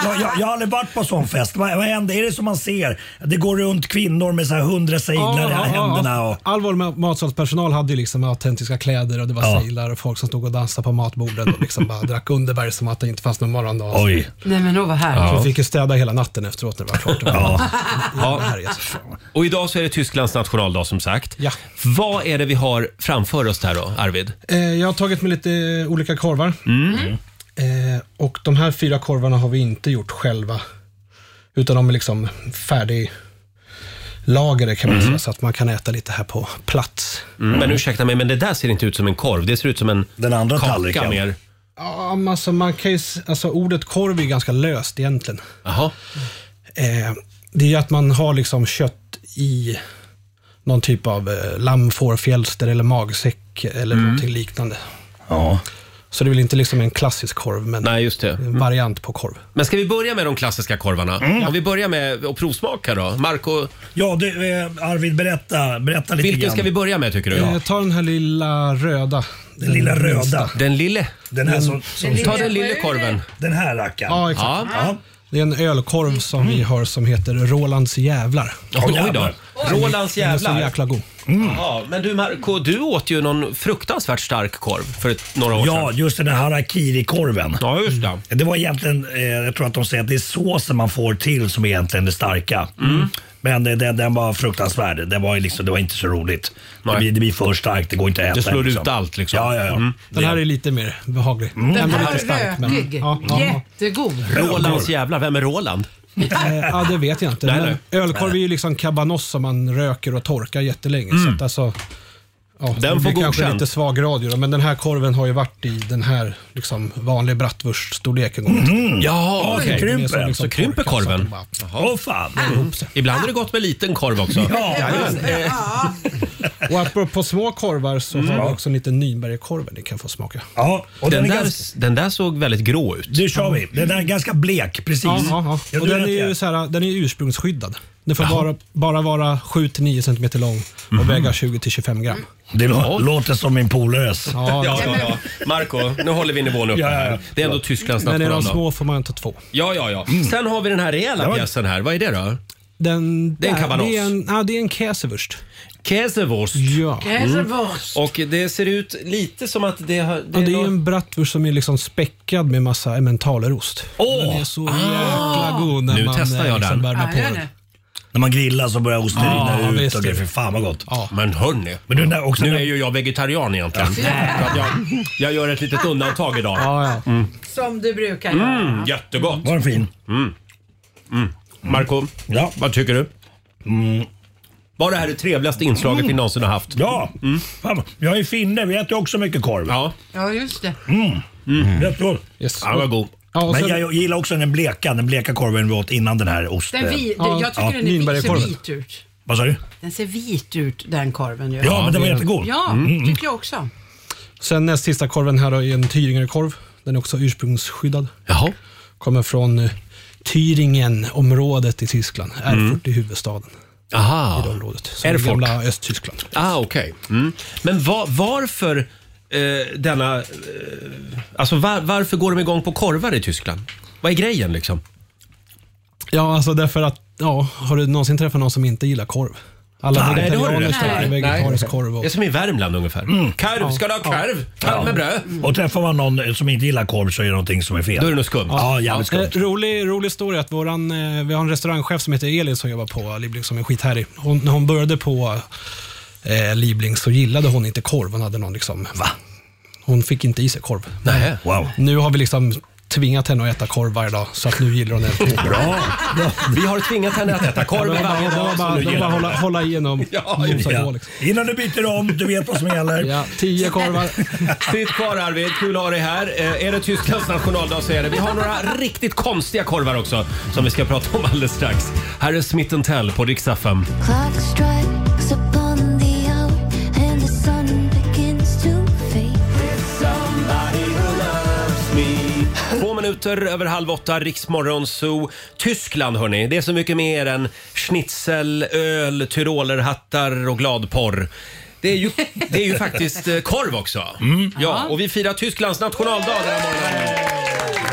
jag, jag, jag har aldrig varit på sån fest. Vad, vad händer? Är det som man ser? Det går runt kvinnor med så här hundra seglar i händerna. Och...
All vår ma- matsalspersonal hade ju liksom autentiska kläder och det var
Ja.
sailar och folk som stod och dansade på matborden och liksom bara drack underbär som att det inte fanns någon morgondag.
Oj.
Nej men åh vad
Så
härligt.
vi fick ju städa hela natten efteråt när det var klart.
Ja.
Ja.
Och idag så är det Tysklands nationaldag som sagt.
Ja.
Vad är det vi har framför oss där då, Arvid?
Eh, Jag har tagit med lite eh, olika korvar. Eh, Och de här fyra korvarna har vi inte gjort själva. Utan de är liksom färdiglagrade kan man
Mm.
säga, så att man kan äta lite här på plats.
Mm. Men ursäkta mig, men det där ser inte ut som en korv. Det ser ut som en Den andra kaka
tallriken.
mer.
Ja, men alltså, man kan ju, s- alltså, ordet korv är ganska löst egentligen.
Jaha.
Eh, det är ju att man har liksom kött i någon typ av eh, lamm, får, fjälster eller magsäck
Mm.
eller någonting liknande.
Ja.
Så det är väl inte liksom en klassisk korv, men
Nej, just det. Mm.
en variant på korv.
Men ska vi börja med de klassiska korvarna?
Mm.
Om vi börjar med att provsmaka då. Marco,
Ja, du, eh, Arvid, berätta, berätta lite
vilken
grann.
ska vi börja med tycker du?
Eh, ta den här lilla röda. Den,
lilla röda.
Den lille.
Den
Mm.
här som, som
Ta den lille korven.
Den här rackaren.
Ja, exakt. Det är en ölkorv som vi har som heter Rolands jävlar.
Oj, oj då. Rolands
Den är så
jävlar.
jäkla god.
Jaha, men du Marco, du åt ju någon fruktansvärt stark korv för ett, några år
Ja,
sedan.
just den här harakiri-korven. Mm.
Ja, just det.
var egentligen, eh, jag tror att de säger att det är såsen man får till som är egentligen det starka.
Mm.
Men det, den, den var fruktansvärd. Den var ju liksom, det var inte så roligt. Det blir, det blir för starkt, det går inte att äta.
Det slår ut allt liksom.
Ja, ja, ja.
Mm.
Den här är lite mer behaglig.
Mm. Den
Ändå
här
lite
var
stark, men-
rökig.
Ja, ja, ja.
Jättegod.
Rolands jävlar, vem är Roland?
Eh, ja, det vet jag inte.
Nej,
men
nej.
Ölkorv är ju liksom kabanoss som man röker och torkar jättelänge. Så att alltså, ja,
Mm. Den
det
får
blir kanske
godkänt.
lite svag radio då, men den här korven har ju varit i den här liksom, vanliga bratwurst-storleken. Mm.
Jaha, okej.
alltså.
liksom
så liksom krymper alltså. korven. Åh fan.
Ah.
Mm. Ibland är det gott med liten korv också.
Ja,
Jajamän. Eh,
Och apropå små korvar så
Mm.
har vi också en liten Nynbergakorven ni kan få smaka.
Ja, och
den,
den är
där,
ganska-
den där såg väldigt grå ut.
Nu kör vi. Den där är ganska blek, precis.
Mm. Ja, ja, ja.
Ja,
Och
du
den, är
vet
ju
det.
så här, den är ju ursprungsskyddad. Den får
Jaha.
bara, bara vara 7-9 cm lång och
Mhm.
väga 20-25 gram.
Det lå- låter som min polares.
Ja, ja, ja. Marco, nu håller vi nivån uppe.
Ja, ja, Mm. ja.
här. Det är ändå Tysklands
Men är de
nationaldag.
små får man ta två.
Ja, ja, ja. Sen har vi den här rejäla
Ja.
pjäsen här. Vad är det då?
Den
Det är en
där,
kabanoss.
Det är en, ja, det är en käsewurst.
Käsewurst.
Ja.
Mm.
Käsewurst.
Och det ser ut lite som att det har...
Det är, ja, det är ju en bratwurst som är liksom späckad med massa emmentalerost.
Åh!
Den är
Ah.
så jäkla god när
Nu
man
testar
eh,
jag
liksom
den.
värmer
Ja,
på
gör
den.
det. När man grillar så börjar osten
Ja,
rinna ut.
visst.
Och det är för fan vad gott.
Men hörni,
Men den där också-
nu är ju jag vegetarian egentligen.
Ja.
Så att jag, jag gör ett litet undantag idag. Mm.
Som du brukar göra.
Mm, jättegott.
Var den fin?
Mm. Mm. Marco,
ja.
vad tycker du? Var det här det trevligaste inslaget vi någonsin har haft? Mm.
Ja, Fan, jag är finne. Vi äter ju också mycket korv.
Ja.
Ja, just det.
Mm. Mm. Jättegod.
Yes.
Ja, vad god.
Ja, och
Men
sen-
jag gillar också den bleka, den bleka korven vi åt innan den här osten.
Den vi, den, jag tycker den är vit, ser vit ut.
Vad sa du?
Den ser vit ut den korven. ju.
Ja, men den var jättegod.
Ja,
Mm.
tycker jag också.
Sen näst sista korven här då är en Tyringerekorv. Den är också ursprungsskyddad.
Jaha.
Kommer från eh, Thüringen-området i Tyskland.
Mm.
Erfurt i huvudstaden.
Aha.
I det området. Som
Erfurt.
Erfurt. gamla Östtyskland.
Ah, okej. Mm. Men va, varför eh, denna... Eh, alltså var, varför går de igång på korvar i Tyskland? Vad är grejen liksom?
Ja, alltså därför att, ja, har du någonsin träffat någon som inte gillar korv? Alla
Nej, det har du
vegetarianer
inte.
käkar vegetarisk korv. Och,
Det är som i Värmland ungefär. Karv, ska du ha karv? Karv med bröd?
Mm. Och träffar man någon som inte gillar korv så är det någonting som är fel.
Då är det något skumt.
Ja, jävligt skumt.
Eh, rolig, rolig historia att våran, eh, vi har en restaurangchef som heter Elin som jobbar på Liblings som är skithärlig. Hon, när hon började på eh, Liblings så gillade hon inte korv. Hon hade någon liksom... Va? Hon fick inte i sig korv.
Nej.
Wow.
Nu har vi liksom tvingat henne att äta korv varje dag, så att nu gillar hon det.
Bra. Vi har tvingat henne att äta korv
Det var bara-
varje
det var
dag.
bara-
så nu
det var
gillar
bara
hon
hålla- hålla igenom.
Ja,
Nosa
ja.
på, liksom.
Innan du byter om, du vet vad som gäller.
Ja, tio korvar.
Sitt kvar Arvid, kul att ha dig här. Eh, är det Tysklands nationaldag så är det. Vi har några riktigt konstiga korvar också som vi ska prata om alldeles strax. Här är Smith Tell på Rix FM.
Clock strikes upon the hour and the sun begins to fade.
Två minuter över halv åtta, Riksmorgon Zoo. Tyskland hörni, det är så mycket mer än schnitzel, öl, tyrolerhattar och gladporr. Det är ju, det är ju faktiskt eh, korv också. Ja, och vi firar Tysklands nationaldag den här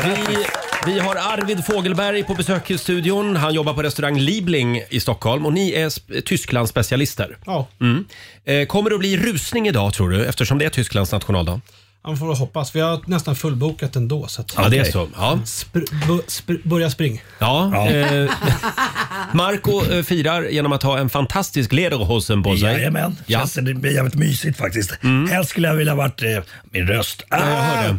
morgonen. Vi, vi har Arvid Fogelberg på besök i studion. Han jobbar på restaurang Liebling i Stockholm och ni är sp- Tysklands specialister.
Ja,
Mm. Eh, Kommer det att bli rusning idag tror du eftersom det är Tysklands nationaldag?
man får hoppas. Vi har nästan fullbokat ändå. Så att
Ja, det är så. Ja.
Spr- bo- spr- börja springa.
Ja.
Ja.
Eh, Marco eh, firar genom att ha en fantastisk lederhosen på sig.
Jajamän.
Ja. Mm.
Känns det blir jävligt mysigt faktiskt. Helst skulle jag vilja varit eh, min röst. Ah!
jag hörde.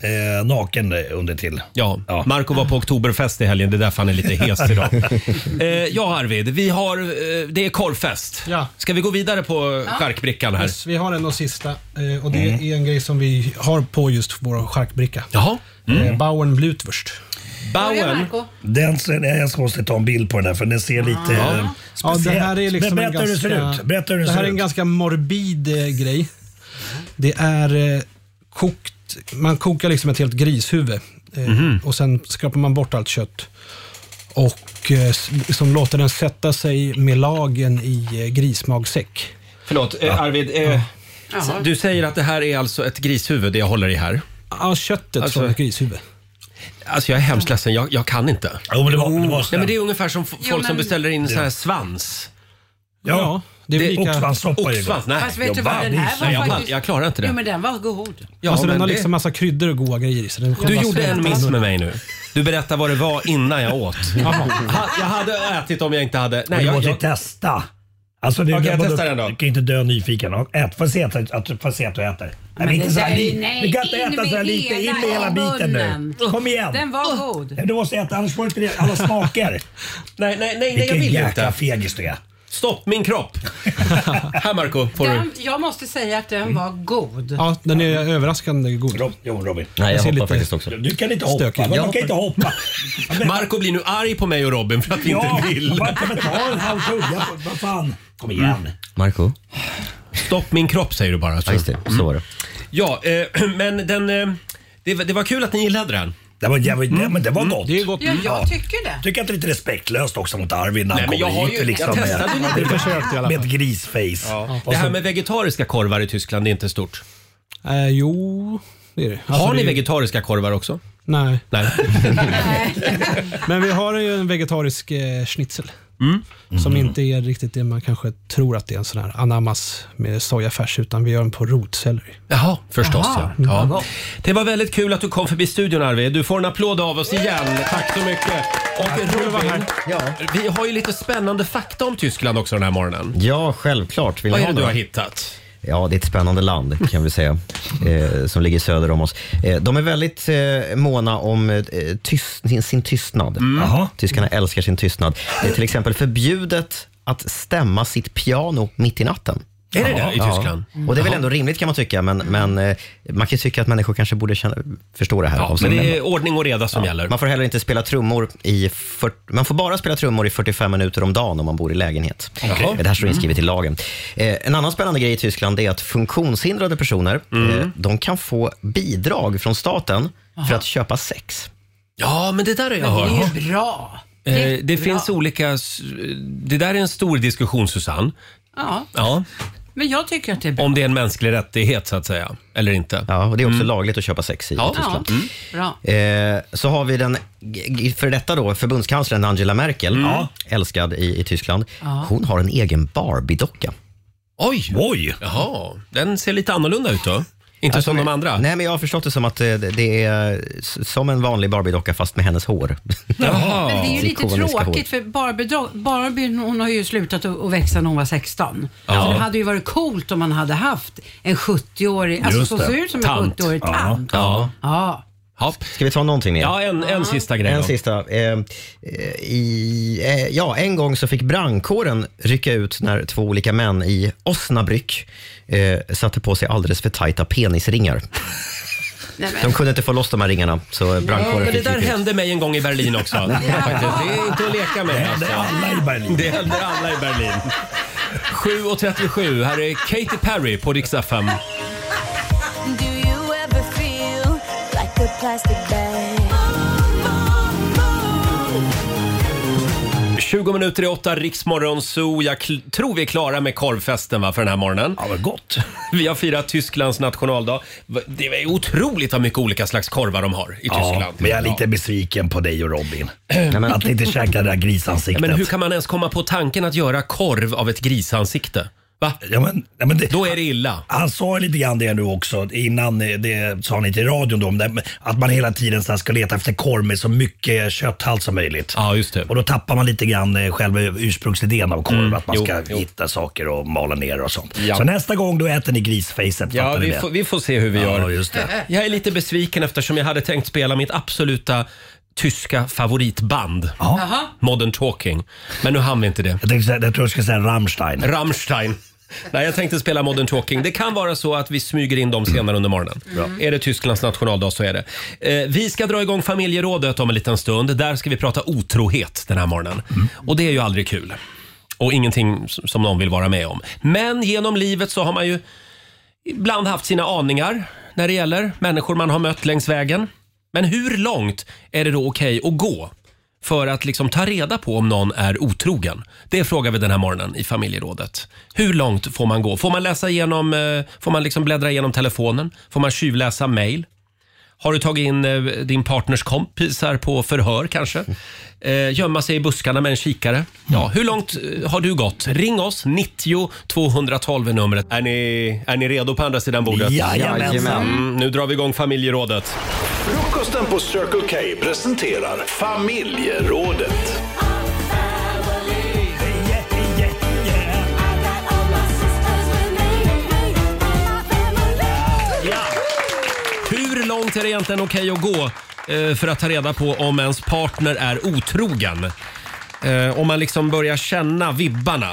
Eh, naken eh, under till.
Ja, Marco var på Oktoberfest i helgen. Det är därför han är lite hes idag.
Mm.
eh, ja, Arvid. Vi har, eh, det är korvfest.
Ja.
Ska vi gå vidare på
Ja.
charkbrickan här?
Yes, vi har en och sista eh, och
Mm.
det är en grej som vi har på just vår charkbricka.
Jaha.
Mm.
Eh, Bauern Blutwurst.
Bauer.
Marco.
Den, ser- nej, jag måste ta en bild på den där för den ser lite
Ja.
eh,
Ja, det
speciell
här är liksom
Men
en
berätta hur det
ganska,
ser ut. Berätta hur det,
det här
ser
är en
ut.
ganska morbid eh, grej. Det är eh, kokt, man kokar liksom ett helt grishuvud eh,
Mhm.
och sen skrapar man bort allt kött och eh, s- liksom låter den sätta sig med lagen i eh, grismagsäck.
Förlåt, eh, Arvid. Eh, Du säger att det här är alltså ett grishuvud, det jag håller i här.
Ja, köttet
Alltså-
från ett grishuvud.
Alltså jag är hemskt ledsen, jag, jag kan inte.
Jo, men det var, det var
Nej, men det är ungefär som f- folk
Jo,
som
men-
beställer in så här svans.
Ja,
det är lika-
oxsvanssoppa är gott.
Oxsvans, nej.
Fast vet du
jag
vad,
vann.
den här var
Nej, jag, vann.
faktiskt-
jag klarar inte det.
Jo, men den var god.
Ja,
alltså den
men
har
det-
liksom massa kryddor och goda grejer i sig. Den
Du
själva
gjorde en
smälter
miss
in.
med mig nu. Du berättade vad det var innan jag åt.
Jaha.
Ha, jag hade ätit om jag inte hade...
Och du
jag,
måste
jag,
testa. Alltså, det,
Okej, jag
vadå?
testar den då.
Du kan ju inte dö nyfiken. Ät, får se att, att, får se att du äter.
Men
Nej, men inte
det
så här,
där är-
li-
nej,
du kan inte
in
äta
med
så här lite. In med hela biten nu.
munnen.
Kom igen.
Den var god.
Du måste äta, annars får du inte det- alla smaker.
nej, nej, nej,
Vilken
jag vill
jäkla
inte.
fegis du är.
Stopp min kropp! här Marco får du.
Den, jag måste säga att den var god.
Ja, den är överraskande god.
Jo, Robin.
Nej, jag
ser
hoppar
lite
faktiskt också.
Du kan inte hoppa.
stökig ut.
Man kan inte hoppa.
Marco blir nu arg på mig och Robin för att vi
Ja,
inte vill.
man kan väl ta en halv tugga. Vad fan. Kom
Mm.
igen.
Marco Stopp min kropp säger du bara. Så. Ja, just det. Så var det. Ja, eh, men den... Eh, det, var- det var kul att ni gillade den.
Det var, det var, men det var gott.
Det är gott.
Ja, jag tycker det.
Tycker att det är lite respektlöst också mot Arvid när
Nej,
han
men jag
kommer
har
hit
ju-
liksom,
jag testade
med-
lite. Jag försökte i alla
Med
fall.
ett grisface. Och
Det här
så-
med vegetariska korvar i Tyskland, det är inte stort.
Eh, jo, det är det. Alltså,
Har ni
det är-
vegetariska korvar också?
Nej.
Nej.
Men vi har ju en vegetarisk eh, schnitzel.
Mm.
Som inte är riktigt det man kanske tror att det är en sån här ananas med sojafärs, utan vi gör den på rotselleri.
Jaha, förstås
Jaha.
ja.
Mm.
ja. Det var väldigt kul att du kom förbi studion Arvid. Du får en applåd av oss igen. Tack så mycket. Och Robin, vi har ju lite spännande fakta om Tyskland också den här morgonen.
Ja, självklart. Vill
Vad
ni
är det du
några?
har hittat? Mm.
Ja, det är ett spännande land kan vi säga, eh, som ligger söder om oss. Eh, de är väldigt eh, måna om eh, tyst, sin, sin tystnad.
Mm.
Jaha.
Tyskarna älskar sin tystnad. Det är till exempel förbjudet att stämma sitt piano mitt i natten.
Är det det i
Ja.
Tyskland?
Och det är väl
Jaha.
ändå rimligt kan man tycka, men, men eh, man kan ju tycka att människor kanske borde känna, förstå det här.
Ja,
av sig
men det
själva.
är ordning och reda som gäller.
Man får heller inte spela trummor i... fyrt- man får bara spela trummor i 45 minuter om dagen om man bor i lägenhet.
Okej.
Det här står inskrivet i lagen. Eh, en annan spännande grej i Tyskland är att funktionshindrade personer eh, de kan få bidrag från staten för att köpa sex.
Ja, men det där är jag
Men det
hört.
är ju bra.
Eh, Det finns olika... s- Det där är en stor diskussion Susanne.
Ja,
Ja.
men jag tycker att det är bra.
Om det är en mänsklig rättighet så att säga, eller inte. Mm.
Ja, och det är också lagligt att köpa sex i
Ja.
Tyskland.
Ja, bra.
Eh, så har vi den g- g- för detta då, förbundskanslern Angela Merkel,
Mm.
ja, älskad i, i Tyskland.
Ja.
Hon har en egen Barbie-docka.
Oj!
Oj!
Jaha, den ser lite annorlunda ut då? Inte
Alltså,
som de
men-
andra?
Nej, men jag har förstått det som att eh, det- det är s- som en vanlig Barbie-docka fast med hennes hår.
Jaha.
Men det är ju lite
Ikoniska hår.
tråkigt för Barbie, dra- Barbie hon har ju slutat att att växa när hon var 16.
Ja.
Så det hade ju varit coolt om man hade haft en 70-årig, alltså som ser ut som en 70-årig tant.
Ja.
Ja.
Ska vi ta någonting mer?
Ja, en, en sista grej
En
då.
sista. Eh, eh, i, eh, ja, en gång så fick brandkåren rycka ut när två olika män i Osnabrück eh, satte på sig alldeles för tajta penisringar.
Nej, men.
De kunde inte få loss de här ringarna, så
Ja,
brandkåren
men det
fick
där
rycka ut.
hände mig en gång i Berlin också. Faktiskt. Det är inte att leka med. Alltså.
alla i Berlin.
Det händer alla i Berlin. 7.37, här är Katy Perry på Dix FM.
Do you ever feel like a plastic bag?
20 minuter i åtta, Riksmorgon Zoo. Jag kl- tror vi är klara med korvfesten va, för den här morgonen.
Ja, vad gott.
Vi har firat Tysklands nationaldag. Va- Det är otroligt vad mycket olika slags korvar de har i Tyskland.
Ja, men jag är lite besviken på dig och Robin. Att ni inte käkade det där
Ja,
grisansiktet.
men hur kan man ens komma på tanken att göra korv av ett grisansikte? Va?
Ja, men, ja, men det,
Då är det illa.
Han sa lite grann det nu också innan, eh, det sa ni till radion då, om det, att man hela tiden så här ska leta efter korv med så mycket kötthalt som möjligt.
Ja, just det.
Och då tappar man lite grann eh, själva ursprungsidén av korv,
Mm,
att man
jo,
ska
jo.
hitta saker och mala ner och sånt.
Ja.
Så nästa gång då äter ni grisfacet,
Ja,
fattar ni
vi
det?
får, vi får se hur vi gör.
Ja, just det.
Jag är lite besviken eftersom jag hade tänkt spela mitt absoluta tyska favoritband.
Jaha.
Modern Talking. Men nu hann vi inte det.
Jag, tänkte, säga- jag tror jag ska säga Rammstein.
Rammstein. Nej, jag tänkte spela Modern Talking. Det kan vara så att vi smyger in dem senare under morgonen. Är det Tysklands nationaldag så är det. Eh, vi ska dra igång familjerådet om en liten stund. Där ska vi prata otrohet den här morgonen.
Mm.
Och det är ju aldrig kul. Och ingenting s- som någon vill vara med om. Men genom livet så har man ju ibland haft sina aningar när det gäller människor man har mött längs vägen. Men hur långt är det då okej att gå för att liksom ta reda på om någon är otrogen? Det frågar vi den här morgonen i familjerådet. Hur långt får man gå? Får man läsa igenom, eh, får man liksom bläddra igenom telefonen? Får man tjuvläsa mail? Har du tagit in eh, din partners kompisar på förhör kanske? Eh, gömma sig i buskarna med en kikare? Ja, hur långt eh, har du gått? Ring oss, 90 212 är numret. Är ni, är ni redo på andra sidan bordet?
Jajamensan.
Mm, nu drar vi igång familjerådet.
Frukosten på Circle K presenterar familjerådet.
Yeah, yeah, yeah.
det egentligen okej att gå eh, för att ta reda på om ens partner är otrogen? Eh, Om man liksom börjar känna vibbarna,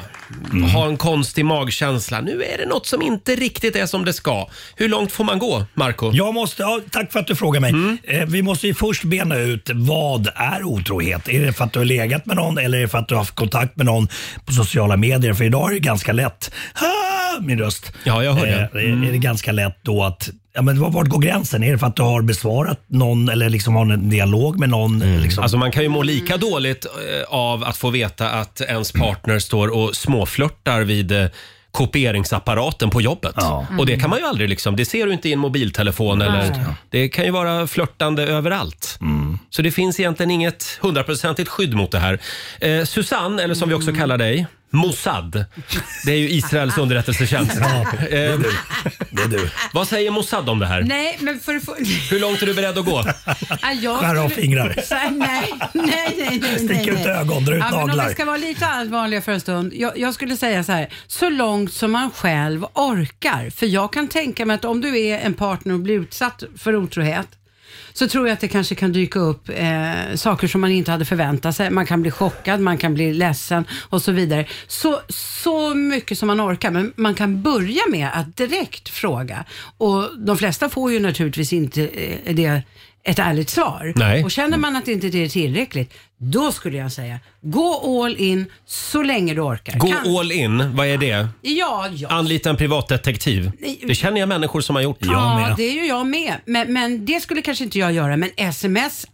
ha en konstig magkänsla. Nu är det något som inte riktigt är som det ska. Hur långt får man gå, Marco?
Jag måste, ja, tack för att du frågar mig.
Mm.
Eh, Vi måste ju först bena ut vad är otrohet? Är det för att du har legat med någon eller är det för att du har haft kontakt med någon på sociala medier? För idag är det ganska lätt. Ah, min röst. Eh,
Ja, jag hör det. Mm.
Är, är det ganska lätt då att Ja, men var- vart går gränsen? Är det för att du har besvarat någon eller liksom har en dialog med någon? Liksom?
Alltså man kan ju må lika dåligt eh, av att få veta att ens partner står och småflörtar vid eh, kopieringsapparaten på jobbet. Och det kan man ju aldrig liksom, det ser du inte i en mobiltelefon
Nej.
eller det kan ju vara flörtande överallt.
Mm.
Så det finns egentligen inget hundraprocentigt skydd mot det här. Eh, Susanne, eller som vi
Mm.
också kallar dig, Mossad. Det är ju Israels underrättelsetjänst. Eh,
Ja, det är du.
Vad säger Mossad om det här?
Nej, men för att få...
Hur långt är du beredd att gå?
Nej, jag
Skär av
skulle-
fingrar.
Så här, Nej, nej, nej. nej
Stick
nej,
ut
nej.
ögon, dra ut
ja, men Om
naglar.
vi ska vara lite allvarliga för en stund. Jag, jag skulle säga så här, så långt som man själv orkar. För jag kan tänka mig att om du är en partner och blir utsatt för otrohet, så tror jag att det kanske kan dyka upp eh, saker som man inte hade förväntat sig. Man kan bli chockad, man kan bli ledsen och så vidare. Så, så mycket som man orkar, men man kan börja med att direkt fråga. Och de flesta får ju naturligtvis inte eh, det ett ärligt svar.
Nej.
Och känner man att inte det är tillräckligt, då skulle jag säga gå all in så länge du orkar.
Gå
Kan-
all in, vad är det?
Ja, ja.
Anlita en privatdetektiv.
Nej.
Det känner jag människor som har gjort.
Ja, det är ju jag med. Men, men det skulle kanske inte jag göra. Men sms,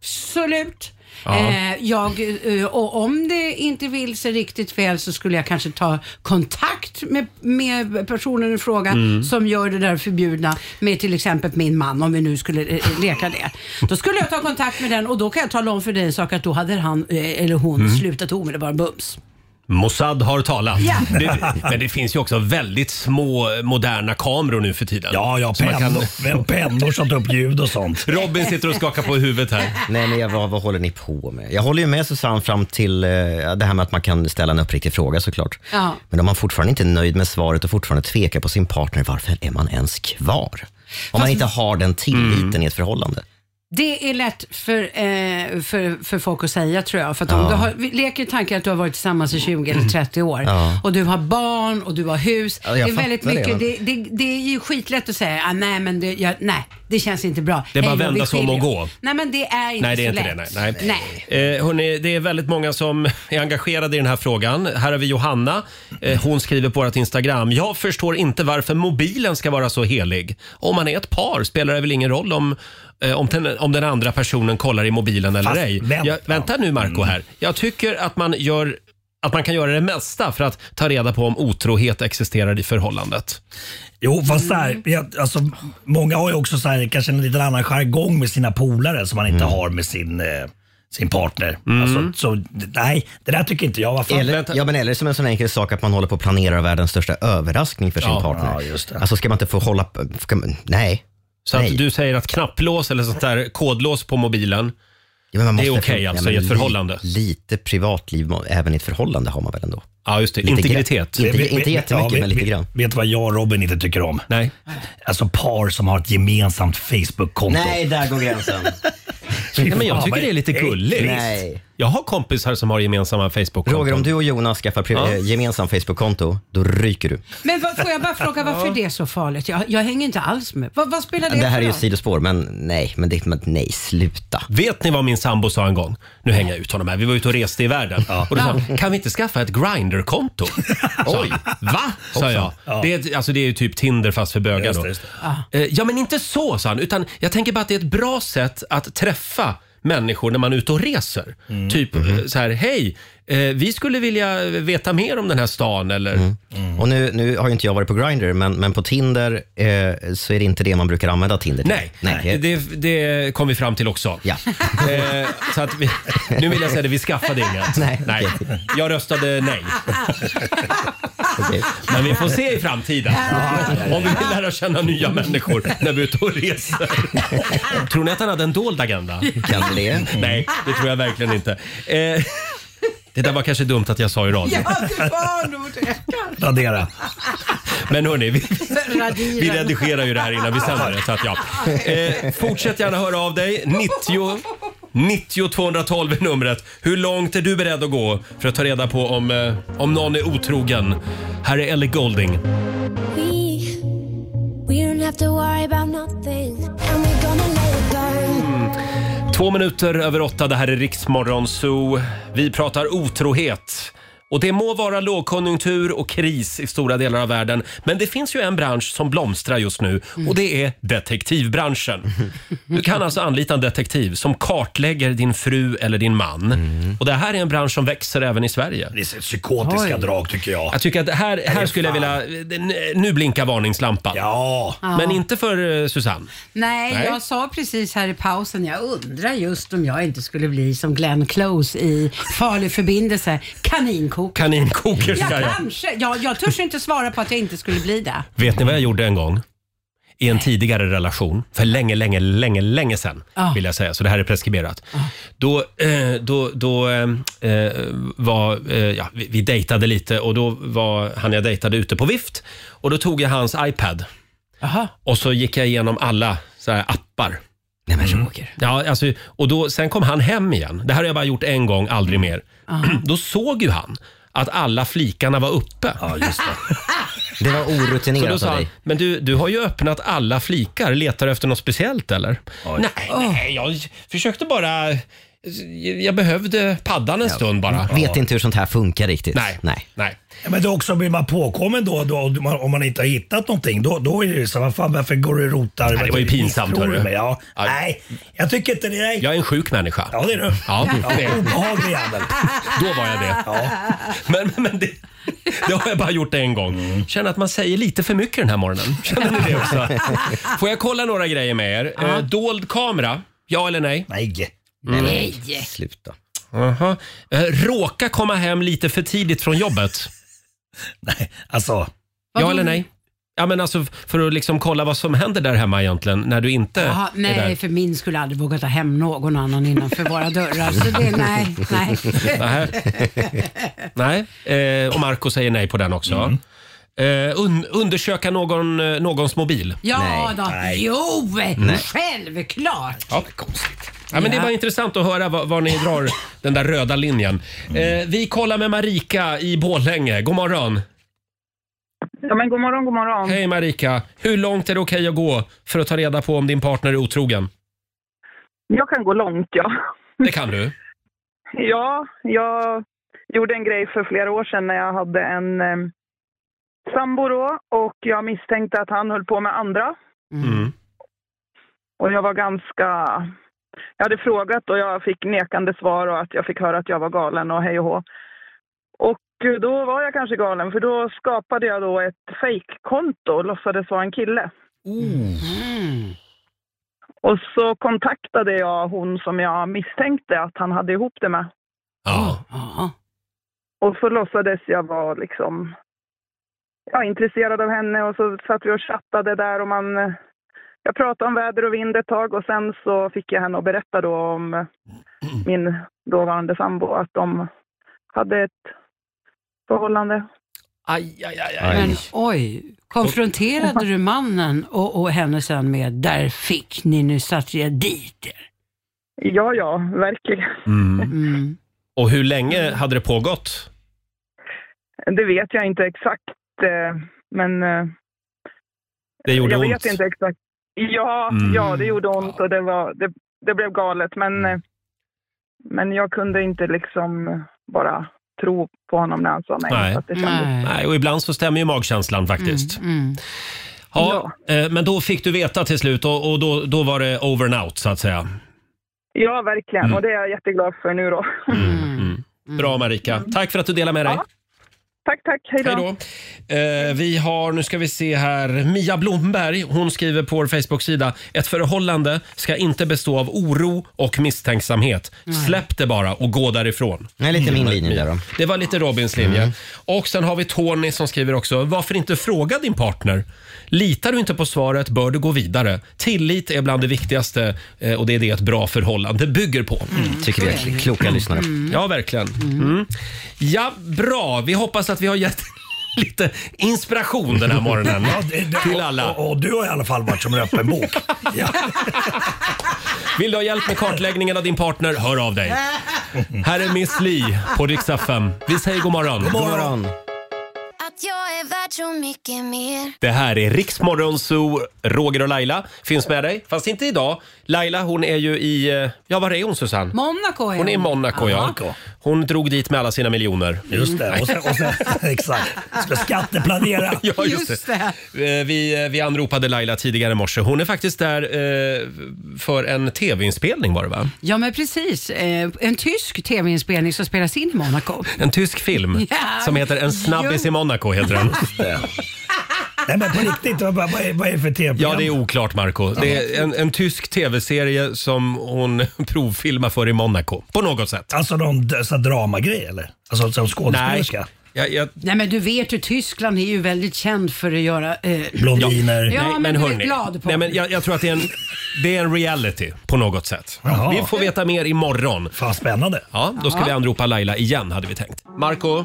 absolut.
Ja.
Eh, jag, eh, och om det inte vill sig riktigt väl så skulle jag kanske ta kontakt med, med personen i fråga
Mm.
som gör det där förbjudna med till exempel min man om vi nu skulle eh, leka det. Då skulle jag ta kontakt med den och då kan jag tala om för dig en sak att då hade han eh, eller hon
Mm.
slutat omedelbart bums.
Mossad har talat.
Ja.
Det, men det finns ju också väldigt små moderna kameror nu för tiden. Ja, ja,
pennor- pennor som tar upp ljud och sånt.
Robin sitter och skakar på huvudet här.
Nej, men jag, vad, vad håller ni på med? Jag håller ju med Susanne fram till eh, det här med att man kan ställa en uppriktig fråga såklart.
Ja.
Men om man fortfarande inte är nöjd med svaret och fortfarande tvekar på sin partner, varför är man ens kvar? Om man
Fast-
inte har den tilliten
Mm.
i ett förhållande.
Det är lätt för, eh, för, för folk att säga tror jag. För att om
Ja.
du har, vi leker tanken att du har varit tillsammans i 20 eller 30 år
Ja.
och du har barn och du har hus.
Ja,
det
jag
är väldigt
fattar det,
mycket, det, det, det är ju skitlätt att säga, ah, nej men det, jag, nej, det känns inte bra.
Det är bara
Hej då, vi
vända sig om
skiljer
och
oss.
gå.
Nej men det är inte
Nej, det är
så
inte det.
lätt.
Nej, nej. Eh, hörni, det är väldigt många som är engagerade i den här frågan. Här har vi Johanna. Eh, hon skriver på vårt Instagram. Jag förstår inte varför mobilen ska vara så helig. Om man är ett par spelar det väl ingen roll om, eh, om, den, om den andra personen kollar i mobilen eller
Fast
ej.
vänta. Mm.
Jag, vänta nu Marco här. Jag tycker att man, gör, att man kan göra det mesta för att ta reda på om otrohet existerar i förhållandet.
Jo, fast så här, jag, alltså, många har ju också så här, kanske en liten annan jargong med sina polare som man
Mm.
inte har med sin, eh, sin partner. Alltså, så, nej, det där tycker inte jag. Vad fan?
Eller, ja, men eller som en sån enkel sak att man håller på att planera världens största överraskning för sin
Ja,
partner.
ja, just det.
Alltså ska man inte få hålla... på- ska man, nej.
Så att du säger att knapplås eller sånt där kodlås på mobilen,
Man
det är
måste-
okej
ja,
alltså
men
i ett
li-
förhållande?
Lite privatliv, må- även i ett förhållande har man väl ändå?
Ja, just det.
Lite
Integritet.
grä-
Vet-
Inte,
vet-
inte jättemycket,
ja,
men lite
vet-
grann.
Vet du vad jag och Robin inte tycker om?
Nej.
Alltså par som har ett gemensamt Facebook-konto.
Nej, där går gränsen.
Nej, men jag tycker det är lite gulligt.
Nej.
Jag har kompisar som har gemensamma facebook
Roger, om du och Jonas skaffar pri-
Ja.
eh, gemensamt Facebook-konto, då ryker du.
Men vad, får jag bara fråga varför det är så farligt? Jag, jag hänger inte alls med. Vad, vad spelar det,
Det här är
för
ju
roll?
ett sidospår, men nej, men det, men nej, sluta.
Vet ni vad min sambo sa en gång? Nu hänger jag ut honom här. Vi var ute och reste i världen. Och då sa han, kan vi inte skaffa ett Grindr-konto? Oj! Va? Sa jag.
Ja.
Det, är, ett- alltså, det är ju typ Tinder fast för bögar
Just
då.
det, just
Eh, Ja, men inte så sa han. Utan jag tänker bara att det är ett bra sätt att träffa människor när man är ute och reser. Typ eh, så här, hej, eh, vi skulle vilja veta mer om den här stan eller
Mm.
Mm.
Och nu, nu har ju inte jag varit på Grindr, men, men på Tinder eh, så är det inte det man brukar använda Tinder till.
Nej, Det, det kom vi fram till också.
Ja.
Eh, så att vi, nu vill jag säga det, vi skaffade inget.
Nej.
Jag röstade nej. Men vi får se i framtiden. Om vi vill lära känna nya människor när vi är ute och reser. Tror ni att han hade en dold agenda?
Kanske det.
Nej, det tror jag verkligen inte. Eh, det där var kanske dumt att jag sa i radio.
Ja, det var nog det.
Radera. Men hörni, vi,
Radira.
vi redigerar ju det här innan vi sänder det. Så att, ja. eh, fortsätt gärna höra av dig. 90, 90 212 är numret. Hur långt är du beredd att gå för att ta reda på om, eh, om någon är otrogen? Här är Ellie Golding.
We, we don't have to worry about nothing. And we're gonna let it burn.
Två minuter över åtta, det här är Riksmorgon Zoo. Vi pratar otrohet. Och det må vara lågkonjunktur och kris i stora delar av världen, men det finns ju en bransch som blomstrar just nu och det är detektivbranschen. Du kan alltså anlita en detektiv som kartlägger din fru eller din man. Och det här är en bransch som växer även i Sverige.
Mm. Det är psykotiska
Oj.
drag tycker jag.
Jag tycker att här,
det
här
är
skulle jag vilja... Nu blinkar varningslampan.
Ja.
Men
Ja.
inte för eh, Susanne.
Nej,
Nej.
jag sa precis här i pausen, jag undrar just om jag inte skulle bli som Glenn Close i Farlig förbindelse, kaninkok.
Kaninkokerska,
Ja,
ja.
kanske. Jag, jag törs inte svara på att jag inte skulle bli det.
Vet ni vad jag gjorde en gång? I en tidigare relation, för länge, länge, länge, länge sedan
Ja.
vill jag säga, så det här är preskriberat. Då, eh, då, då eh, eh, var, eh, ja, vi, vi dejtade lite och då var han jag dejtade ute på vift och då tog jag hans iPad och så gick jag igenom alla så här appar.
Nej men Roger.
Ja, alltså, och då, sen kom han hem igen. Det här har jag bara gjort en gång, aldrig mer. Då såg ju han att alla flikarna var uppe. Ja, just det.
det var orutinerat
då sa
av
han,
dig.
men du, du har ju öppnat alla flikar. Letar du efter något speciellt eller? Nej, nej, jag försökte bara... Jag behövde paddan en stund bara.
Mm. Vet inte hur sånt här funkar riktigt.
Nej.
Nej.
Nej.
Ja, Men det är också blir man påkommen då, då om man- om man inte har hittat någonting. Då, då är det så vad fan varför går du och rotar?
Nej, det var ju pinsamt.
Tror du
hörru.
mig? Ja.
Ja.
Nej, jag tycker inte det. Nej.
Jag är en sjuk människa.
Ja, det är du.
Ja, det är-
Obehaglig jävel.
Då var jag det. Men, men- men det, det har jag bara gjort en gång. Känner att man säger lite för mycket den här morgonen. Känner ni det också? Får jag kolla några grejer med er? Eh, dold kamera, ja eller nej? Mm.
Nej.
Nej. Sluta.
Aha. Eh, råka komma hem lite för tidigt från jobbet?
Nej, alltså.
Ja eller nej? Ja, men alltså, för att liksom kolla vad som händer där hemma egentligen när du inte
Jaha,
är där.
nej, för min skulle aldrig våga ta hem någon annan innanför våra dörrar. Så Alltså, det, nej, nej.
Nej. nej. Eh, och Marco säger nej på den också. Eh, un undersöka någon, eh, någons mobil.
Ja då, jo, självklart.
Ja. Ja, men det
Ja.
var intressant att höra var, var ni drar den där röda linjen. Eh, vi kollar med Marika i Borlänge. God morgon.
Ja, men god morgon, god morgon.
Hej Marika. Hur långt är det okej att gå för att ta reda på om din partner är otrogen?
Jag kan gå långt, ja.
Det kan du.
Ja, jag gjorde en grej för flera år sedan när jag hade en eh, sambo då och jag misstänkte att han höll på med andra.
Mm.
Och jag var ganska... Jag hade frågat och jag fick nekande svar och att jag fick höra att jag var galen och hej och hå. Och eh, då var jag kanske galen för då skapade jag då ett fejkkonto och låtsades vara en kille. Och så kontaktade jag hon som jag misstänkte att han hade ihop det med.
Ja.
Och så låtsades jag vara liksom, ja, intresserad av henne och så satt vi och chattade där och man... eh, Jag pratade om väder och vind ett tag och sen så fick jag henne att berätta då om eh, min dåvarande sambo att de hade ett förhållande.
Aj, aj, aj,
Men oj, konfronterade du mannen och, och henne sen med där fick ni, nu satte jag dit er.
Ja, ja, verkligen.
Mm.
Och hur länge hade det pågått?
Det vet jag inte exakt, eh, men eh,
Det gjorde
jag
ont.
vet inte exakt. Ja,
Mm.
ja, det gjorde ont och det, var, det, det blev galet. Men, eh, men jag kunde inte liksom bara tro på honom när han sa nej.
Nej.
Så att det kändes,
Nej, och ibland så stämmer ju magkänslan faktiskt. Ja, eh, men då fick du veta till slut och, och då, då var det over and out så att säga.
Ja, verkligen.
Mm.
Och det är jag jätteglad för nu då.
Bra Marika.
Mm.
Tack för att du delade med dig.
tack, tack. Hej då.
Hej då. Eh, vi har, nu ska vi se här, Mia Blomberg. Hon skriver på vår Facebook-sida. Ett förhållande ska inte bestå av oro och misstänksamhet. Släpp det bara och gå därifrån.
Nej, lite min
Mm.
linje där då. Mm.
Det var lite Robins linje. Och sen har vi Tony som skriver också. Varför inte fråga din partner? Litar du inte på svaret bör du gå vidare. Tillit är bland det viktigaste eh, och det är det ett bra förhållande bygger på.
Mm, Tycker vi är kloka lyssnare.
Mm.
Mm. Ja, verkligen. Mm. Ja, bra. Vi hoppas att vi har gett lite inspiration den här morgonen.
Ja, det- det-
till alla.
Och, och du har i alla fall varit som en öppen bok.
Vill du ha hjälp med kartläggningen av din partner? Hör av dig. Här är Miss Li på Rix FM. Vi säger god morgon.
God
morgon.
Att jag är värd så mycket mer.
Det här är Rix Morgon Zoo. Roger och Laila finns med dig, fast inte idag. Laila hon är ju i, eh, ja var är hon Susanne?
Monaco är
Hon är i Monaco ja. Hon drog dit med alla sina miljoner.
Just det. Och sen, och sen, exakt. Ska skatteplanera.
Ja, just Just det. Eh, Vi, vi anropade Laila tidigare i morse. Hon är faktiskt där eh, för en tv-inspelning var det va?
Ja, men precis. Eh, En tysk tv-inspelning som spelas in i Monaco.
En tysk film
Ja.
som heter En snabbis i Monaco heter den.
Nej men på riktigt, vad, vad, är, vad är det för tv
Ja, det är oklart Marco. Det är en, en tysk tv-serie som hon provfilmar för i Monaco. På något sätt.
Alltså någon d- sån här dramagrej eller? Alltså som skådespelerska?
Nej. Jag, jag,
Nej men du vet ju, Tyskland är ju väldigt känd för att göra... Eh,
Ja,
Ja, men, du är
hörni.
glad på.
Nej, men jag, jag tror att det är, en, det är en reality på något sätt.
Jaha.
Vi får veta mer imorgon.
Fan, spännande.
Ja, då ska
Ja.
vi anropa Laila igen hade vi tänkt. Marco,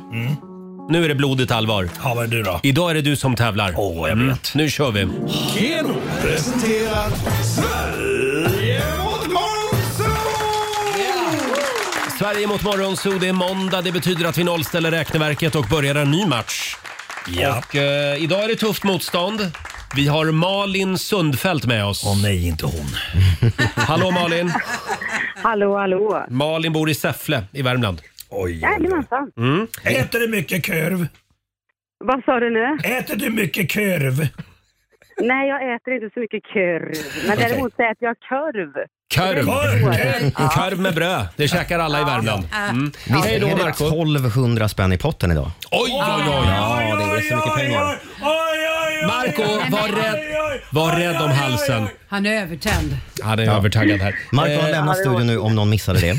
nu är det blodigt allvar.
Mm. Ja, vad är du då?
Idag är det du som tävlar. Åh, jag vet. Mm, nu kör vi.
Keno presenterar Sverige mot
Sverige mot Morgonzoo, det är måndag. Det betyder att vi nollställer räkneverket och börjar en ny match.
Ja.
Och, eh, idag är det tufft motstånd. Vi har Malin Sundfält med oss. Åh
nej, inte hon.
Hallå Malin!
Hallå, hallå.
Malin bor i Säffle i Värmland.
Oj.
Jajamensan.
Mm.
Äter du mycket korv?
Vad sa du nu?
Äter du mycket korv?
Nej, jag äter inte så mycket korv. Men
Okej.
däremot så äter jag korv.
Korv!
Korv. Ja.
Korv med bröd. Det käkar alla i Värmland. Mm. Hej då
Visst är det
Marco.
1200 spänn i potten idag?
Oj, oj, oj!
Ja, det är så mycket pengar.
Marco, var rädd, var rädd om halsen.
Han är övertänd.
Han är övertaggad här.
Marco har
Eh,
lämnat studion nu om någon missade det.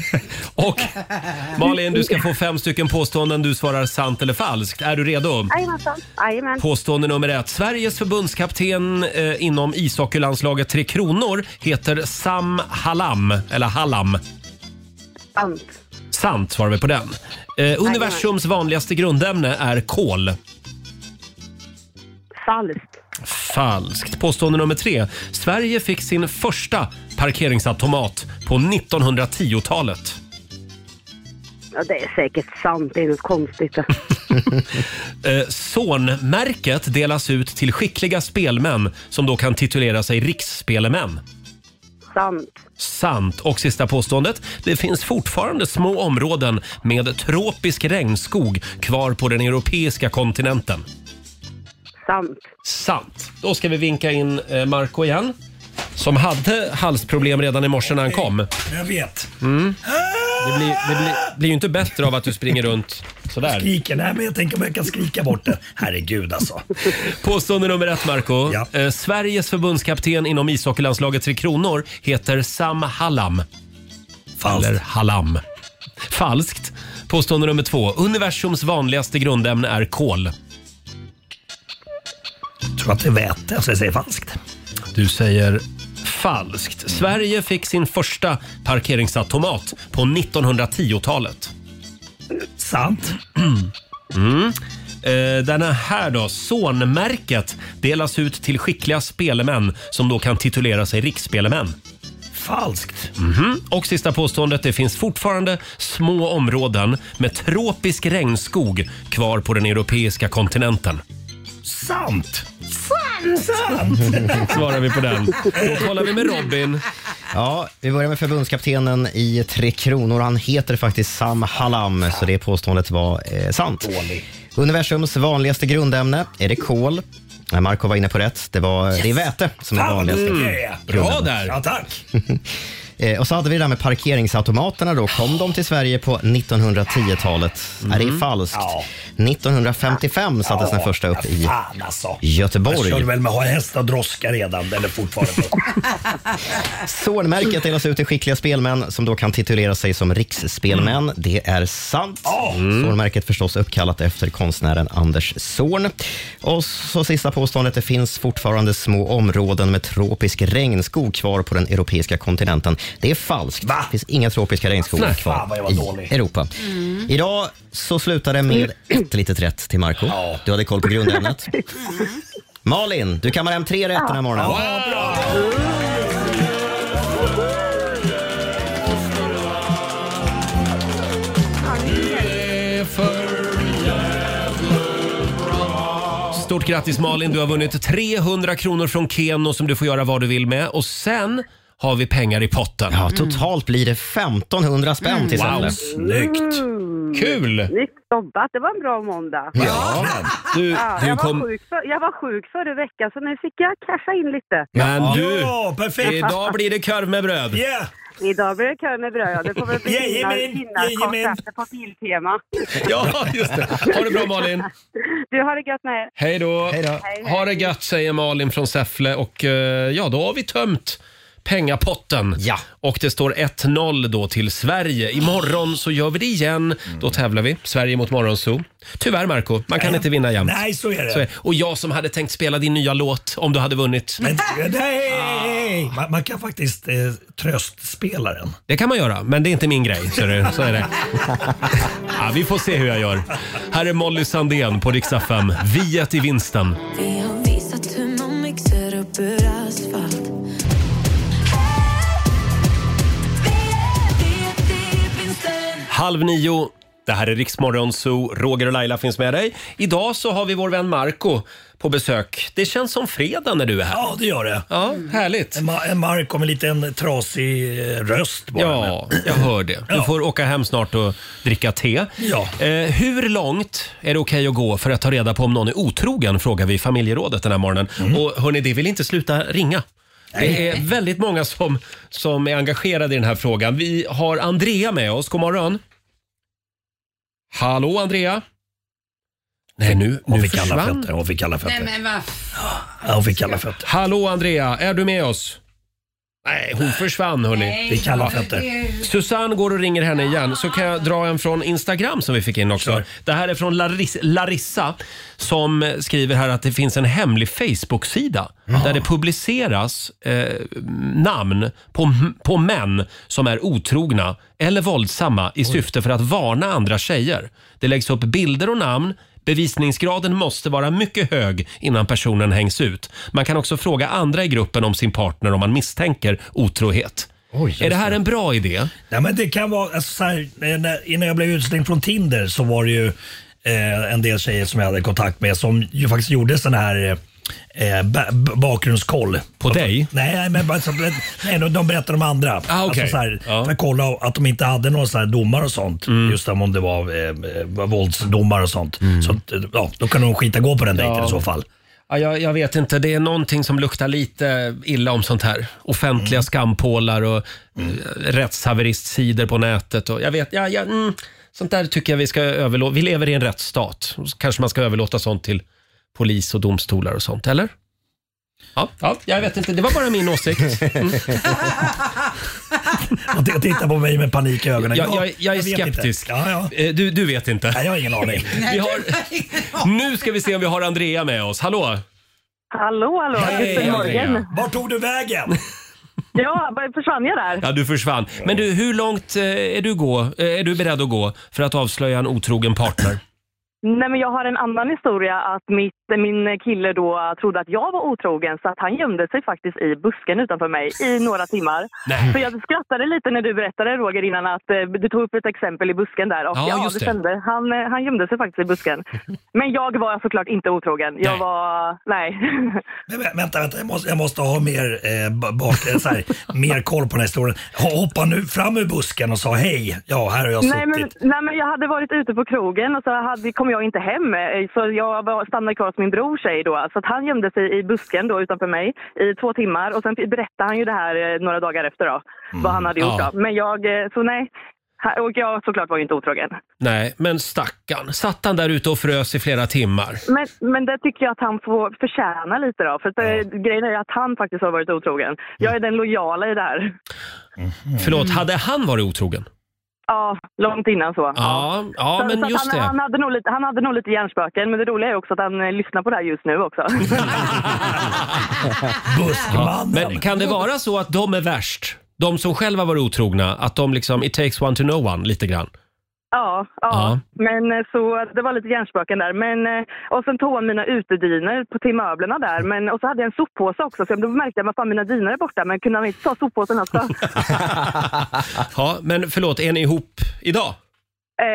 Och Malin, du ska få fem stycken påståenden. Du svarar sant eller falskt. Är du redo?
Jajamensan. Jajamän.
Påstående nummer ett. Sveriges förbundskapten eh, inom ishockeylandslaget Tre Kronor heter Sam Hallam, eller Hallam.
Sant.
Sant svarar vi på den. Eh, universums vanligaste grundämne är kol.
Falskt.
Falskt. Påstående nummer tre. Sverige fick sin första parkeringsautomat på 1910-talet.
Ja, det är säkert sant. Det är något konstigt.
Eh, Sonmärket delas ut till skickliga spelmän som då kan titulera sig riksspelmän.
sant.
Sant. Och sista påståendet. Det finns fortfarande små områden med tropisk regnskog kvar på den europeiska kontinenten.
Sant.
Sant. Då ska vi vinka in eh, Marco igen. Som hade halsproblem redan i morse när han kom.
Jag vet.
Mm. Det blir, det blir, blir ju inte bättre av att du springer runt sådär.
Skriker. Nej, men jag tänker om jag kan skrika bort det. Herregud alltså.
Påstående nummer ett, Marco. Eh, Sveriges förbundskapten inom ishockeylandslaget Tre Kronor heter Sam Hallam. Falskt. Eller Hallam. Falskt. Påstående nummer två. Universums vanligaste grundämne är kol.
Jag tror att det är väte, så jag säger falskt.
Du säger falskt. Sverige fick sin första parkeringsautomat på 1910-talet.
Sant.
Mm. Eh, Den här då, Sonmärket, delas ut till skickliga spelmän som då kan titulera sig riksspelmän.
Falskt.
Mhm. Och sista påståendet, det finns fortfarande små områden med tropisk regnskog kvar på den europeiska kontinenten.
Sant.
Sant!
Svarar vi på den. Då kollar vi med Robin.
Ja, vi börjar med förbundskaptenen i Tre Kronor. Han heter faktiskt Sam Hallam, så det påståendet var eh, sant. Universums vanligaste grundämne, är det kol? Nej, Marco var inne på rätt. Det, var, det är väte som är
Fan, mm.
vanligaste.
vad
Mm.
duktig jag är.
grundämne.
Ja, tack.
Eh, Och så hade vi det där med parkeringsautomaterna då. Kom de till Sverige på 1910-talet? Nej, det är
Mm.
falskt.
Ja.
1955 sattes den första upp i
Fan alltså. Jag
Göteborg.
körde väl med hästar och droska redan, eller fortfarande.
Zornmärket delas ut till skickliga spelmän som då kan titulera sig som riksspelmän.
Mm.
Det är sant. Mm. Zornmärket förstås uppkallat efter konstnären Anders Zorn. Och så sista påståendet. Det finns fortfarande små områden med tropisk regnskog kvar på den europeiska kontinenten. Det är falskt. Det finns inga tropiska regnskogar
Nej,
kvar
fan vad jag var
i
dålig.
Europa. Idag så slutar det med ett litet rätt till Marco. Du hade koll på grundämnet. Malin, du kammar hem tre rätt den här morgonen.
Stort grattis Malin, du har vunnit 300 kronor från Keno som du får göra vad du vill med. Och sen har vi pengar i potten.
Ja, totalt blir det 1500 spänn
Mm.
till
Mm. Wow,
Sälle.
snyggt!
Mm.
Kul!
Snyggt jobbat. Det var en bra måndag.
Ja, du- du
jag,
kom-
var sjuk för, jag var sjuk förra veckan, så nu fick jag casha in lite.
Men du,
Ja, perfekt.
idag blir det korv med bröd.
Yeah.
Idag blir det kö med bröd. ja. Det får väl bli
Jajamän,
vinnarkonserter på Biltema.
Ja, just det. Ha det bra Malin.
Du, har det gött med er.
Hej då.
Hej då.
Ha det gött säger Malin från Säffle och eh, ja, då har vi tömt pengapotten. Ja. Och det står 1-0 då till Sverige. Imorgon så gör vi det igen. Då tävlar vi. Sverige mot Morgonzoo. Tyvärr Marco, man kan inte vinna jämt.
Mm. Nej, så är det.
Och jag som hade tänkt spela din nya låt om du hade vunnit.
Men, nej, man, man kan faktiskt eh, tröstspela den.
Det kan man göra, men det är inte min grej. Så, det, så är det. Ja, vi får se hur jag gör. Här är Molly Sandén på riksdag 5. Viet i vinsten.
Vi har visat hur man mixar upp ur asfalt
Halv nio. Det här är Riksmorgon Zoo. Roger och Laila finns med dig. Idag så har vi vår vän Marco på besök. Det känns som fredag när du är här.
Ja, det gör det.
Ja, härligt.
En, ma- en Mark med en liten trasig eh, röst bara.
Ja, jag hör det. Du får åka hem snart och dricka te.
Ja.
Eh, hur långt är det okej att gå för att ta reda på om någon är otrogen? Frågar vi familjerådet den här morgonen.
Mm.
Och hörni, det vill inte sluta ringa. Det är väldigt många som, som är engagerade i den här frågan. Vi har Andrea med oss. God morgon. Hallå Andrea? Nej, nu,
Hon
nu
fick alla
försvann.
fötter, hon fick alla fötter.
Nej men vad
Ja, hon fick alla fötter.
Hallå Andrea, är du med oss? Nej, hon försvann hörni.
Nej, Vi kallar för inte.
Susanne går och ringer henne igen så kan jag dra en från Instagram som vi fick in också. Det här är från Laris- Larissa som skriver här att det finns en hemlig Facebook-sida där det publiceras eh, namn på, på män som är otrogna eller våldsamma i syfte för att varna andra tjejer. Det läggs upp bilder och namn Bevisningsgraden måste vara mycket hög innan personen hängs ut. Man kan också fråga andra i gruppen om sin partner om man misstänker otrohet. är det här en bra idé?
Nej, men det kan vara, alltså, så här, eh, när, innan jag blev utslängd från Tinder så var det ju eh, en del tjejer som jag hade kontakt med som ju faktiskt gjorde sån här eh, ba- b- bakgrundskoll.
På dig?
Nej, men bara, så, nej, de, de berättade om andra. Alltså,
Ah, okej.
så här, För att kolla att de inte hade några så här domar och sånt.
Mm.
Just om det var eh, var våldsdomar och sånt. Så att, eh, ja, då kan de skita gå på den dejten
Ja.
i så fall.
Ja, jag, jag vet inte, det är någonting som luktar lite illa om sånt här. Offentliga skampålar och mm. rättshaveristsidor på nätet. Och jag vet, ja, ja, mm, sånt där tycker jag vi ska överlåta. Vi lever i en rättsstat. Så Kanske man ska överlåta sånt till polis och domstolar och sånt, eller? Ja, ja jag vet inte. Det var bara min åsikt. Mm.
Och t- titta på mig med panik i ögonen.
Jag,
Ja,
jag, jag är
vet inte.
skeptisk.
Ja, ja.
Eh, Du, du vet inte?
Nej, jag har ingen aning.
Vi har, nu ska vi se om vi har Andrea med oss. Hallå!
Hallå, hallå!
Hej,
Guten
Andrea.
Morgen!
Vart tog du vägen?
Ja, var- försvann jag där?
Ja, du försvann. Men du, hur långt eh, är du, gå, eh, är du beredd att gå för att avslöja en otrogen partner?
Nej, men jag har en annan historia. Att mitt, min kille då trodde att jag var otrogen så att han gömde sig faktiskt i busken utanför mig i några timmar.
Nej.
För jag skrattade lite när du berättade Roger innan att eh, du tog upp ett exempel i busken där. Och
Ja,
ja,
just
det
det.
stämde. Han, eh, han gömde sig faktiskt i busken. Men jag var såklart inte otrogen. Jag
Nej.
var... Nej.
Men, vä- vänta, vänta. Jag måste, jag måste ha mer, eh, ba- bak, eh, så här, mer koll på den här historien. Ho- Hoppa nu fram ur busken och sa hej. Ja, här har jag
Nej
suttit.
men, nej men jag hade varit ute på krogen och så hade, kom jag inte hem Eh, så jag var- stannade kvar hos min brors tjej då. Så att han gömde sig i busken då utanför mig i två timmar och sen berättade han ju det här eh, några dagar efter då.
Mm.
Vad han hade gjort
Ja.
då. Men jag, eh, så nej. Ha- Och jag såklart var ju inte otrogen.
Nej, men stackarn. Satt han där ute och frös i flera timmar?
Men, men det tycker jag att han får förtjäna lite då. För att, eh, grejen är ju att han faktiskt har varit otrogen.
Mm.
Jag är den lojala i det här.
Förlåt, hade han varit otrogen?
Mm. Ja, långt innan så.
Ja, ja
så, så
men
att
just
han, Han
det.
hade, nog lite, han hade nog lite hjärnspöken, men det roliga är också att han eh, lyssnar på det här just nu också.
Ja, men kan det vara så att de är värst? de som själva varit otrogna, att de liksom, it takes one to know one lite grann.
Ja, ja.
Ja.
Men eh, så det var lite hjärnspöken där. Men, eh, och sen tog jag mina utediner på- till möblerna där. Men, och så hade jag en soppåse också. Så jag märkte att fan, mina diner är borta. Men kunde man inte ta soppåsen också?
Ja, men förlåt, är ni ihop idag?
eh,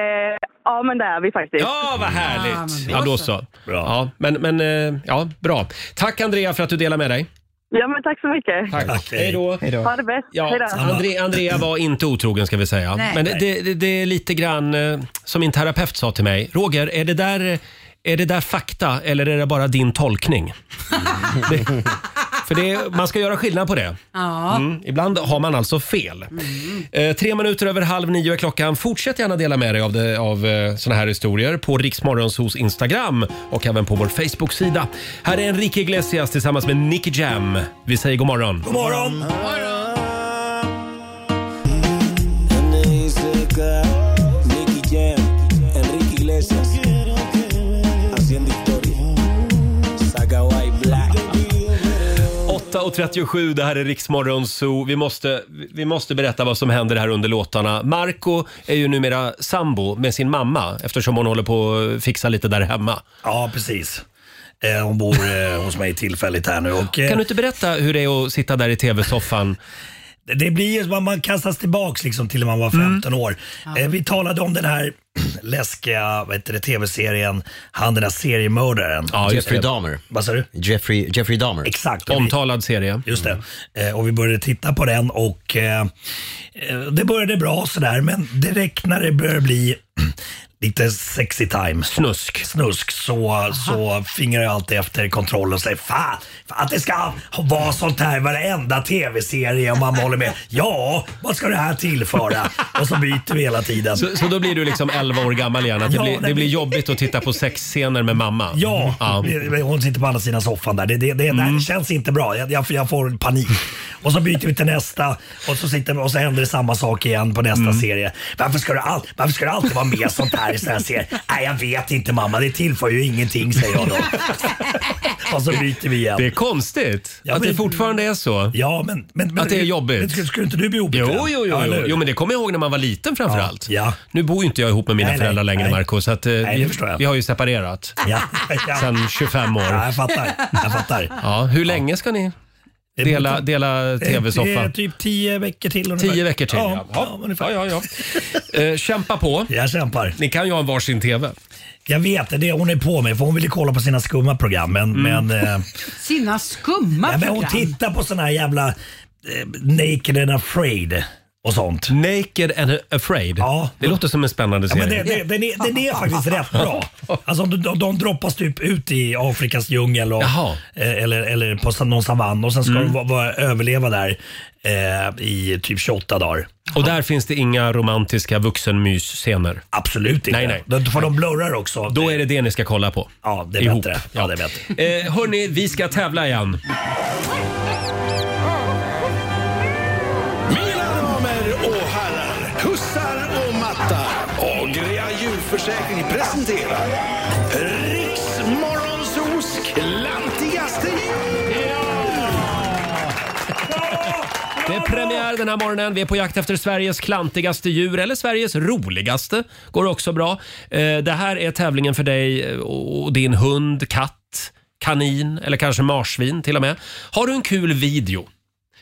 ja, men det är vi faktiskt.
Ja, vad härligt! Ja, då så. Bra. Ja, men, men eh, ja, bra. Tack Andrea för att du delar med dig.
Ja, men tack så mycket.
Tack. Hej då.
Ha det bäst. Hej
Ja,
då.
Andre, Andrea var inte otrogen ska vi säga.
Nej.
Men
Nej.
det, det, det är lite grann eh, som min terapeut sa till mig. Roger, är det där, är det där fakta eller är det bara din tolkning? det, för det, man ska göra skillnad på det.
Ja.
Mm, ibland har man alltså fel.
Mm.
Eh, tre minuter över halv nio är klockan. Fortsätt gärna dela med dig av, det, av eh, såna här historier på Riksmorgonsos Instagram och även på vår Facebook-sida. Här är Enrique Iglesias tillsammans med Nicky Jam. Vi säger god morgon.
God morgon!
Nicky Jam, Enrique Iglesias, haciendo historia. Saga White Black.
8.37, det här är Riksmorgon Zoo. Vi måste, vi måste berätta vad som händer här under låtarna. Marco är ju numera sambo med sin mamma eftersom hon håller på att fixa lite där hemma.
Ja, precis. Eh, hon bor eh, hos mig tillfälligt här nu. Och, eh,
Kan du inte berätta hur det är att sitta där i tv-soffan?
Det- Det blir ju som att man kastas tillbaks liksom till när man var 15 år. Eh, Vi talade om den här läskiga vad heter det, tv-serien, han den där seriemördaren.
Ja, just det. Jeffrey Dahmer.
Vad sa du?
Jeffrey, Jeffrey Dahmer. Mm.
Exakt.
Omtalad serie.
Just det. Eh, Och vi började titta på den och eh, eh, det började bra sådär men direkt när det började bli lite sexy time.
Snusk.
Snusk. Så, så fingrar jag alltid efter kontroll och säger fan, fan att det ska vara sånt här i varenda tv-serie och mamma håller med. Ja, vad ska det här tillföra? Och så byter vi hela tiden.
Så, så då blir du liksom 11 år gammal igen. Att det,
Ja,
blir, det
nej,
blir
men-
jobbigt att titta på sexscener med mamma.
Ja, hon sitter på andra sidan soffan där. Det, det, det, nej,
Mm.
det känns inte bra. Jag, jag, jag får panik. Och så byter vi till nästa och så, sitter, och så händer det samma sak igen på nästa
Mm.
serie. Varför ska, du all, varför ska du alltid vara med sånt här i såna här serier? Nej, jag vet inte mamma. Det tillför ju ingenting säger jag då. och så byter vi igen.
Det är konstigt
Ja,
att
men-
det fortfarande är så.
Ja, men, men-
att det är jobbigt.
men skulle- skulle inte du bli obekväm?
Jo, jo, jo.
Ja, eller
jo.
hur?
jo men det kommer jag ihåg när man var liten framför
Ja,
allt.
ja.
Nu bor ju inte jag ihop med mina
Nej, nej,
föräldrar längre,
nej.
Marco, så att, eh,
Nej, det
vi,
förstår jag.
vi har ju separerat
Ja,
sedan 25 år.
ja, jag fattar. Jag fattar.
Ja, hur länge ska ni dela, dela
Det är
tv-soffan?
typ tio veckor till ungefär.
Tio veckor till,
Ja,
ja.
ja, ungefär.
ja, ja, ja. Eh, kämpa på.
Jag kämpar.
Ni kan ju ha en varsin tv.
Jag vet det, hon är på mig för hon ville kolla på sina skumma program. Men,
Mm.
men, eh,
Sina skumma
nej, men
program.
hon tittar på såna här jävla eh, Naked and afraid och sånt.
Naked and afraid.
Ja.
Det låter som en spännande
Ja,
serie.
men det, det, den, är, den är faktiskt rätt bra. Alltså, de, de, de droppas typ ut i Afrikas djungel och,
Jaha. Mm.
eh, eller, eller på sa- någon savann och sen ska de va- va- överleva där eh, i typ 28 dagar.
Och där finns det inga romantiska vuxenmys-scener.
Absolut inte.
Nej, nej.
Då får de blurrar också.
Då är det det ni ska kolla på.
Ja, det är
Ihop.
bättre. Ja, det är bättre.
Eh, hörni, vi ska tävla igen.
Mina damer och herrar, hussar och matta. Agria djurförsäkring presenterar Riksmorgonsos klantigaste djur.
Det är premiär den här morgonen. Vi är på jakt efter Sveriges klantigaste djur, eller Sveriges roligaste. Går också bra. Eh, Det här är tävlingen för dig och din hund, katt, kanin eller kanske marsvin till och med. Har du en kul video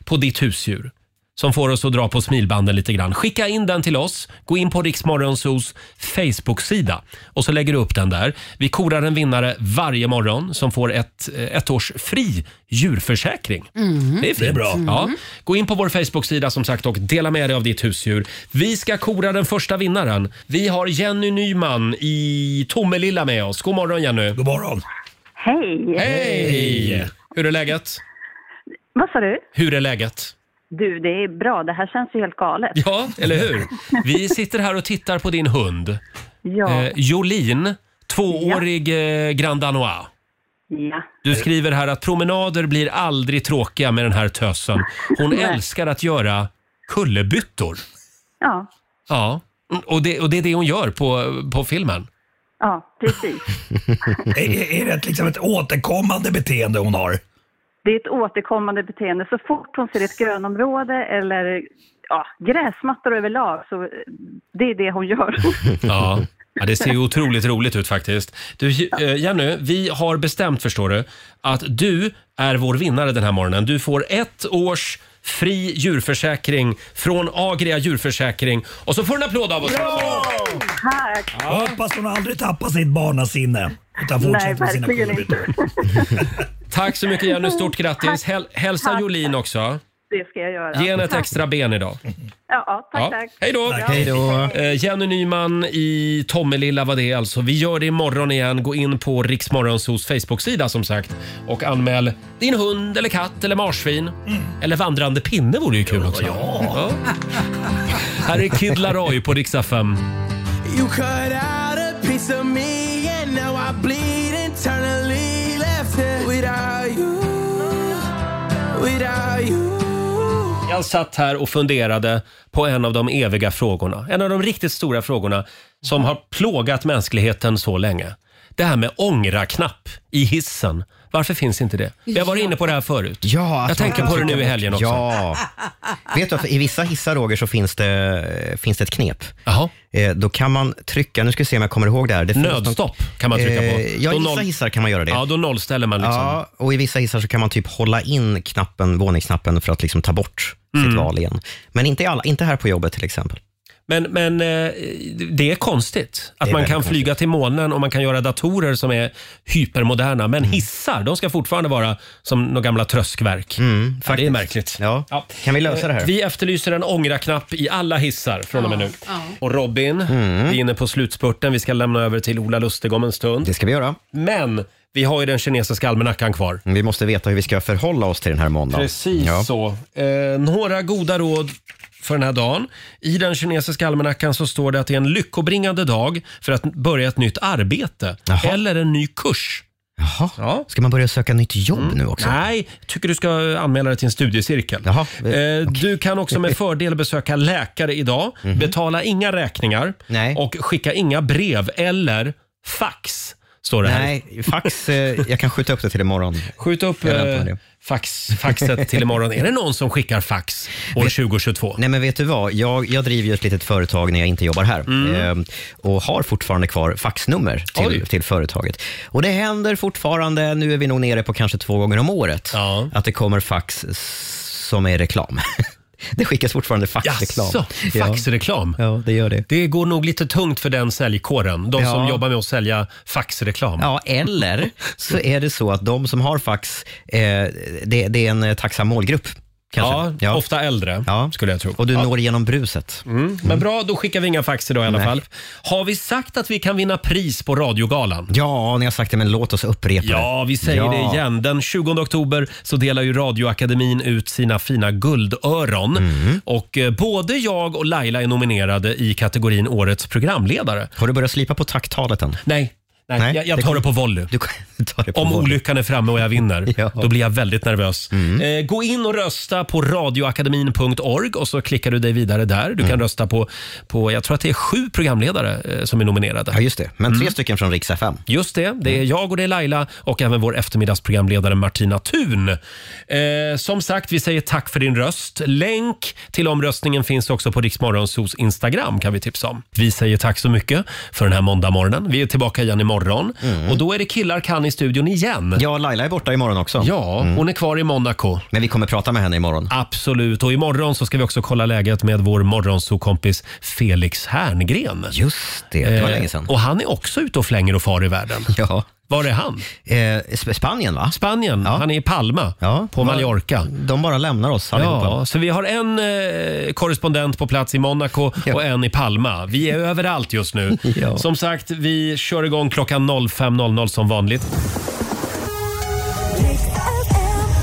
på ditt husdjur som får oss att dra på smilbanden lite grann. Skicka in den till oss. Gå in på Riksmorgonsos Facebook-sida och så lägger du upp den där. Vi korar en vinnare varje morgon som får ett, eh, ett års fri djurförsäkring. Det är fint.
Det är bra.
Ja. Gå in på vår Facebook-sida som sagt och dela med dig av ditt husdjur. Vi ska kora den första vinnaren. Vi har Jenny Nyman i Tomelilla med oss. God morgon Jenny.
God morgon.
Hej!
Hej! Hur är läget?
Vad sa du?
Hur är läget?
Du, det är bra. Det här känns ju helt galet.
Ja, eller hur? Vi sitter här och tittar på din hund.
Ja.
Eh, Jolin, tvåårig eh, Grand Danois.
ja.
Du skriver här att promenader blir aldrig tråkiga med den här tösen. Hon
Nej.
älskar att göra kullerbyttor.
Ja.
Ja, Mm, och det, och det är det hon gör på, på filmen.
Ja, precis.
Är, är det ett, liksom ett återkommande beteende hon har?
Det är ett återkommande beteende. Så fort hon ser ett grönområde eller ja, gräsmattor överlag så det är det hon gör.
Ja. ja, det ser ju otroligt roligt ut faktiskt. Du, eh, Jenny, vi har bestämt förstår du att du är vår vinnare den här morgonen. Du får ett års fri djurförsäkring från Agria djurförsäkring. Och så får du en applåd av oss.
Tack!
Jag hoppas hon aldrig tappar sitt barnasinne utan
Nej,
fortsätter med sina
verkligen
kulor.
Tack så mycket Jenny, stort grattis. Häl- hälsa
Tack.
Jolin också.
Det ska jag göra.
Ge henne ett extra ben idag.
Ja, ja, tack, tack.
Hej då!
Bra.
Eh, Jenny Nyman i Tommelilla var det alltså. Vi gör det imorgon igen. Gå in på Riksmorgonsos Facebook-sida som sagt och anmäl din hund eller katt eller marsvin. Eller vandrande pinne vore ju kul också. Mm. Ja. Här är Kid Laroi på riksdag 5.
You cut out a piece of me and now I bleed internally left here without you, without you.
Jag satt här och funderade på en av de eviga frågorna. En av de riktigt stora frågorna som har plågat mänskligheten så länge. Det här med ångra-knapp i hissen. Varför finns inte det? Vi har varit inne på det här förut.
Ja, alltså,
Jag tänker på det nu i helgen också.
Ja. Vet du att i vissa hissar, Roger, så finns det, finns det ett knep. Eh, Då kan man trycka, nu ska vi se om jag kommer ihåg det här. Det finns
Nödstopp
någon-
kan man trycka på.
Eh, Ja,
Då
i vissa
noll-
hissar kan man göra det.
Ja, då nollställer man liksom.
Ja, och i vissa hissar så kan man typ hålla in knappen, våningsknappen för att liksom ta bort
Mm.
sitt val igen. Men inte, i alla, inte här på jobbet till exempel.
Men, men eh, det är konstigt att
Det är
man
väldigt
kan
konstigt.
flyga till månen och man kan göra datorer som är hypermoderna.
Mm.
Men hissar, de ska fortfarande vara som några gamla tröskverk. ja, det är märkligt. Ja.
Mm, Kan vi lösa det här?
Eh, Vi efterlyser en ångra-knapp i alla hissar från och med nu. Och Robin,
Mm.
vi är inne på slutspurten. Vi ska lämna över till Ola Lustig om en stund.
Det ska vi göra.
Men vi har ju den kinesiska almanackan kvar.
Vi måste veta hur vi ska förhålla oss till den här måndagen.
Precis
Ja.
så. Eh, några goda råd för den här dagen. I den kinesiska almanackan så står det att det är en lyckobringande dag för att börja ett nytt arbete eller en ny kurs.
Jaha. Ska man börja söka nytt jobb
Mm.
nu också?
Nej, jag tycker du ska anmäla dig till en studiecirkel. eh, Du kan också med fördel besöka läkare idag.
Mhm.
Betala inga räkningar och skicka inga brev eller fax. Står det här.
Nej, fax, eh, jag kan skjuta upp det till imorgon.
Skjut upp
Jag väntar
eh,
med det.
fax, faxet till imorgon. Är det någon som skickar fax år 2022?
Nej men vet du vad, jag, jag driver ju ett litet företag när jag inte jobbar här
Mm.
eh, och har fortfarande kvar faxnummer till, till företaget. Och det händer fortfarande, nu är vi nog nere på kanske två gånger om året, att det kommer fax s- som är reklam. det skickas fortfarande faxreklam.
Jaså, faxreklam?
Ja. ja, det gör det.
Det går nog lite tungt för den säljkåren, de som
Ja.
jobbar med att sälja faxreklam.
Ja, eller så är det så att de som har fax, eh, det, det är en eh, tacksam målgrupp. Kanske.
Ja, ofta äldre skulle jag tro.
Och du
Ja.
når igenom bruset.
Mm. Men bra, då skickar vi inga fax idag i alla
Nej.
fall. Har vi sagt att vi kan vinna pris på radiogalan?
Ja, ni har sagt det, men låt oss upprepa det.
Ja, vi säger
Ja.
det igen. Den 20 oktober så delar ju Radioakademin ut sina fina guldöron.
Mm.
Och eh, både jag och Laila är nominerade i kategorin Årets programledare.
Har du börjat slipa på tacktalet än?
Nej. Nej,
Nej,
jag, jag
det
tar
kom-
det på volley. Om olyckan är framme och jag vinner, då blir jag väldigt nervös.
Mm.
Eh, gå in och rösta på radioakademin.org och så klickar du dig vidare där. Du
Mm.
kan rösta på, på, jag tror att det är sju programledare eh, som är nominerade. Ja,
just det. Men tre stycken från Rix Mm. FM.
Just det. Det är jag och det är Laila och även vår eftermiddagsprogramledare Martina Thun. Eh, som sagt, vi säger tack för din röst. Länk till omröstningen finns också på Riksmorgonsos Instagram kan vi tipsa om. Vi säger tack så mycket för den här måndagmorgonen. Vi är tillbaka igen imorgon och då är det killar kan i studion igen.
Mm. Ja, Laila är borta imorgon också.
Ja, hon är kvar i Monaco.
Men vi kommer prata med henne imorgon.
Absolut. Och imorgon så ska vi också kolla läget med vår morgonsokompis Felix Herngren. Eh,
Just det, det var länge sedan.
Och han är också ute och flänger och far i världen.
Ja. Eh,
Var är han?
Spanien va?
Spanien, han är i Palma på Mallorca.
De bara lämnar oss allihopa.
Ja, så vi har en eh, korrespondent på plats i Monaco och en i Palma. Vi är överallt just nu.
Ja.
Som sagt, vi kör igång klockan 05.00 som vanligt.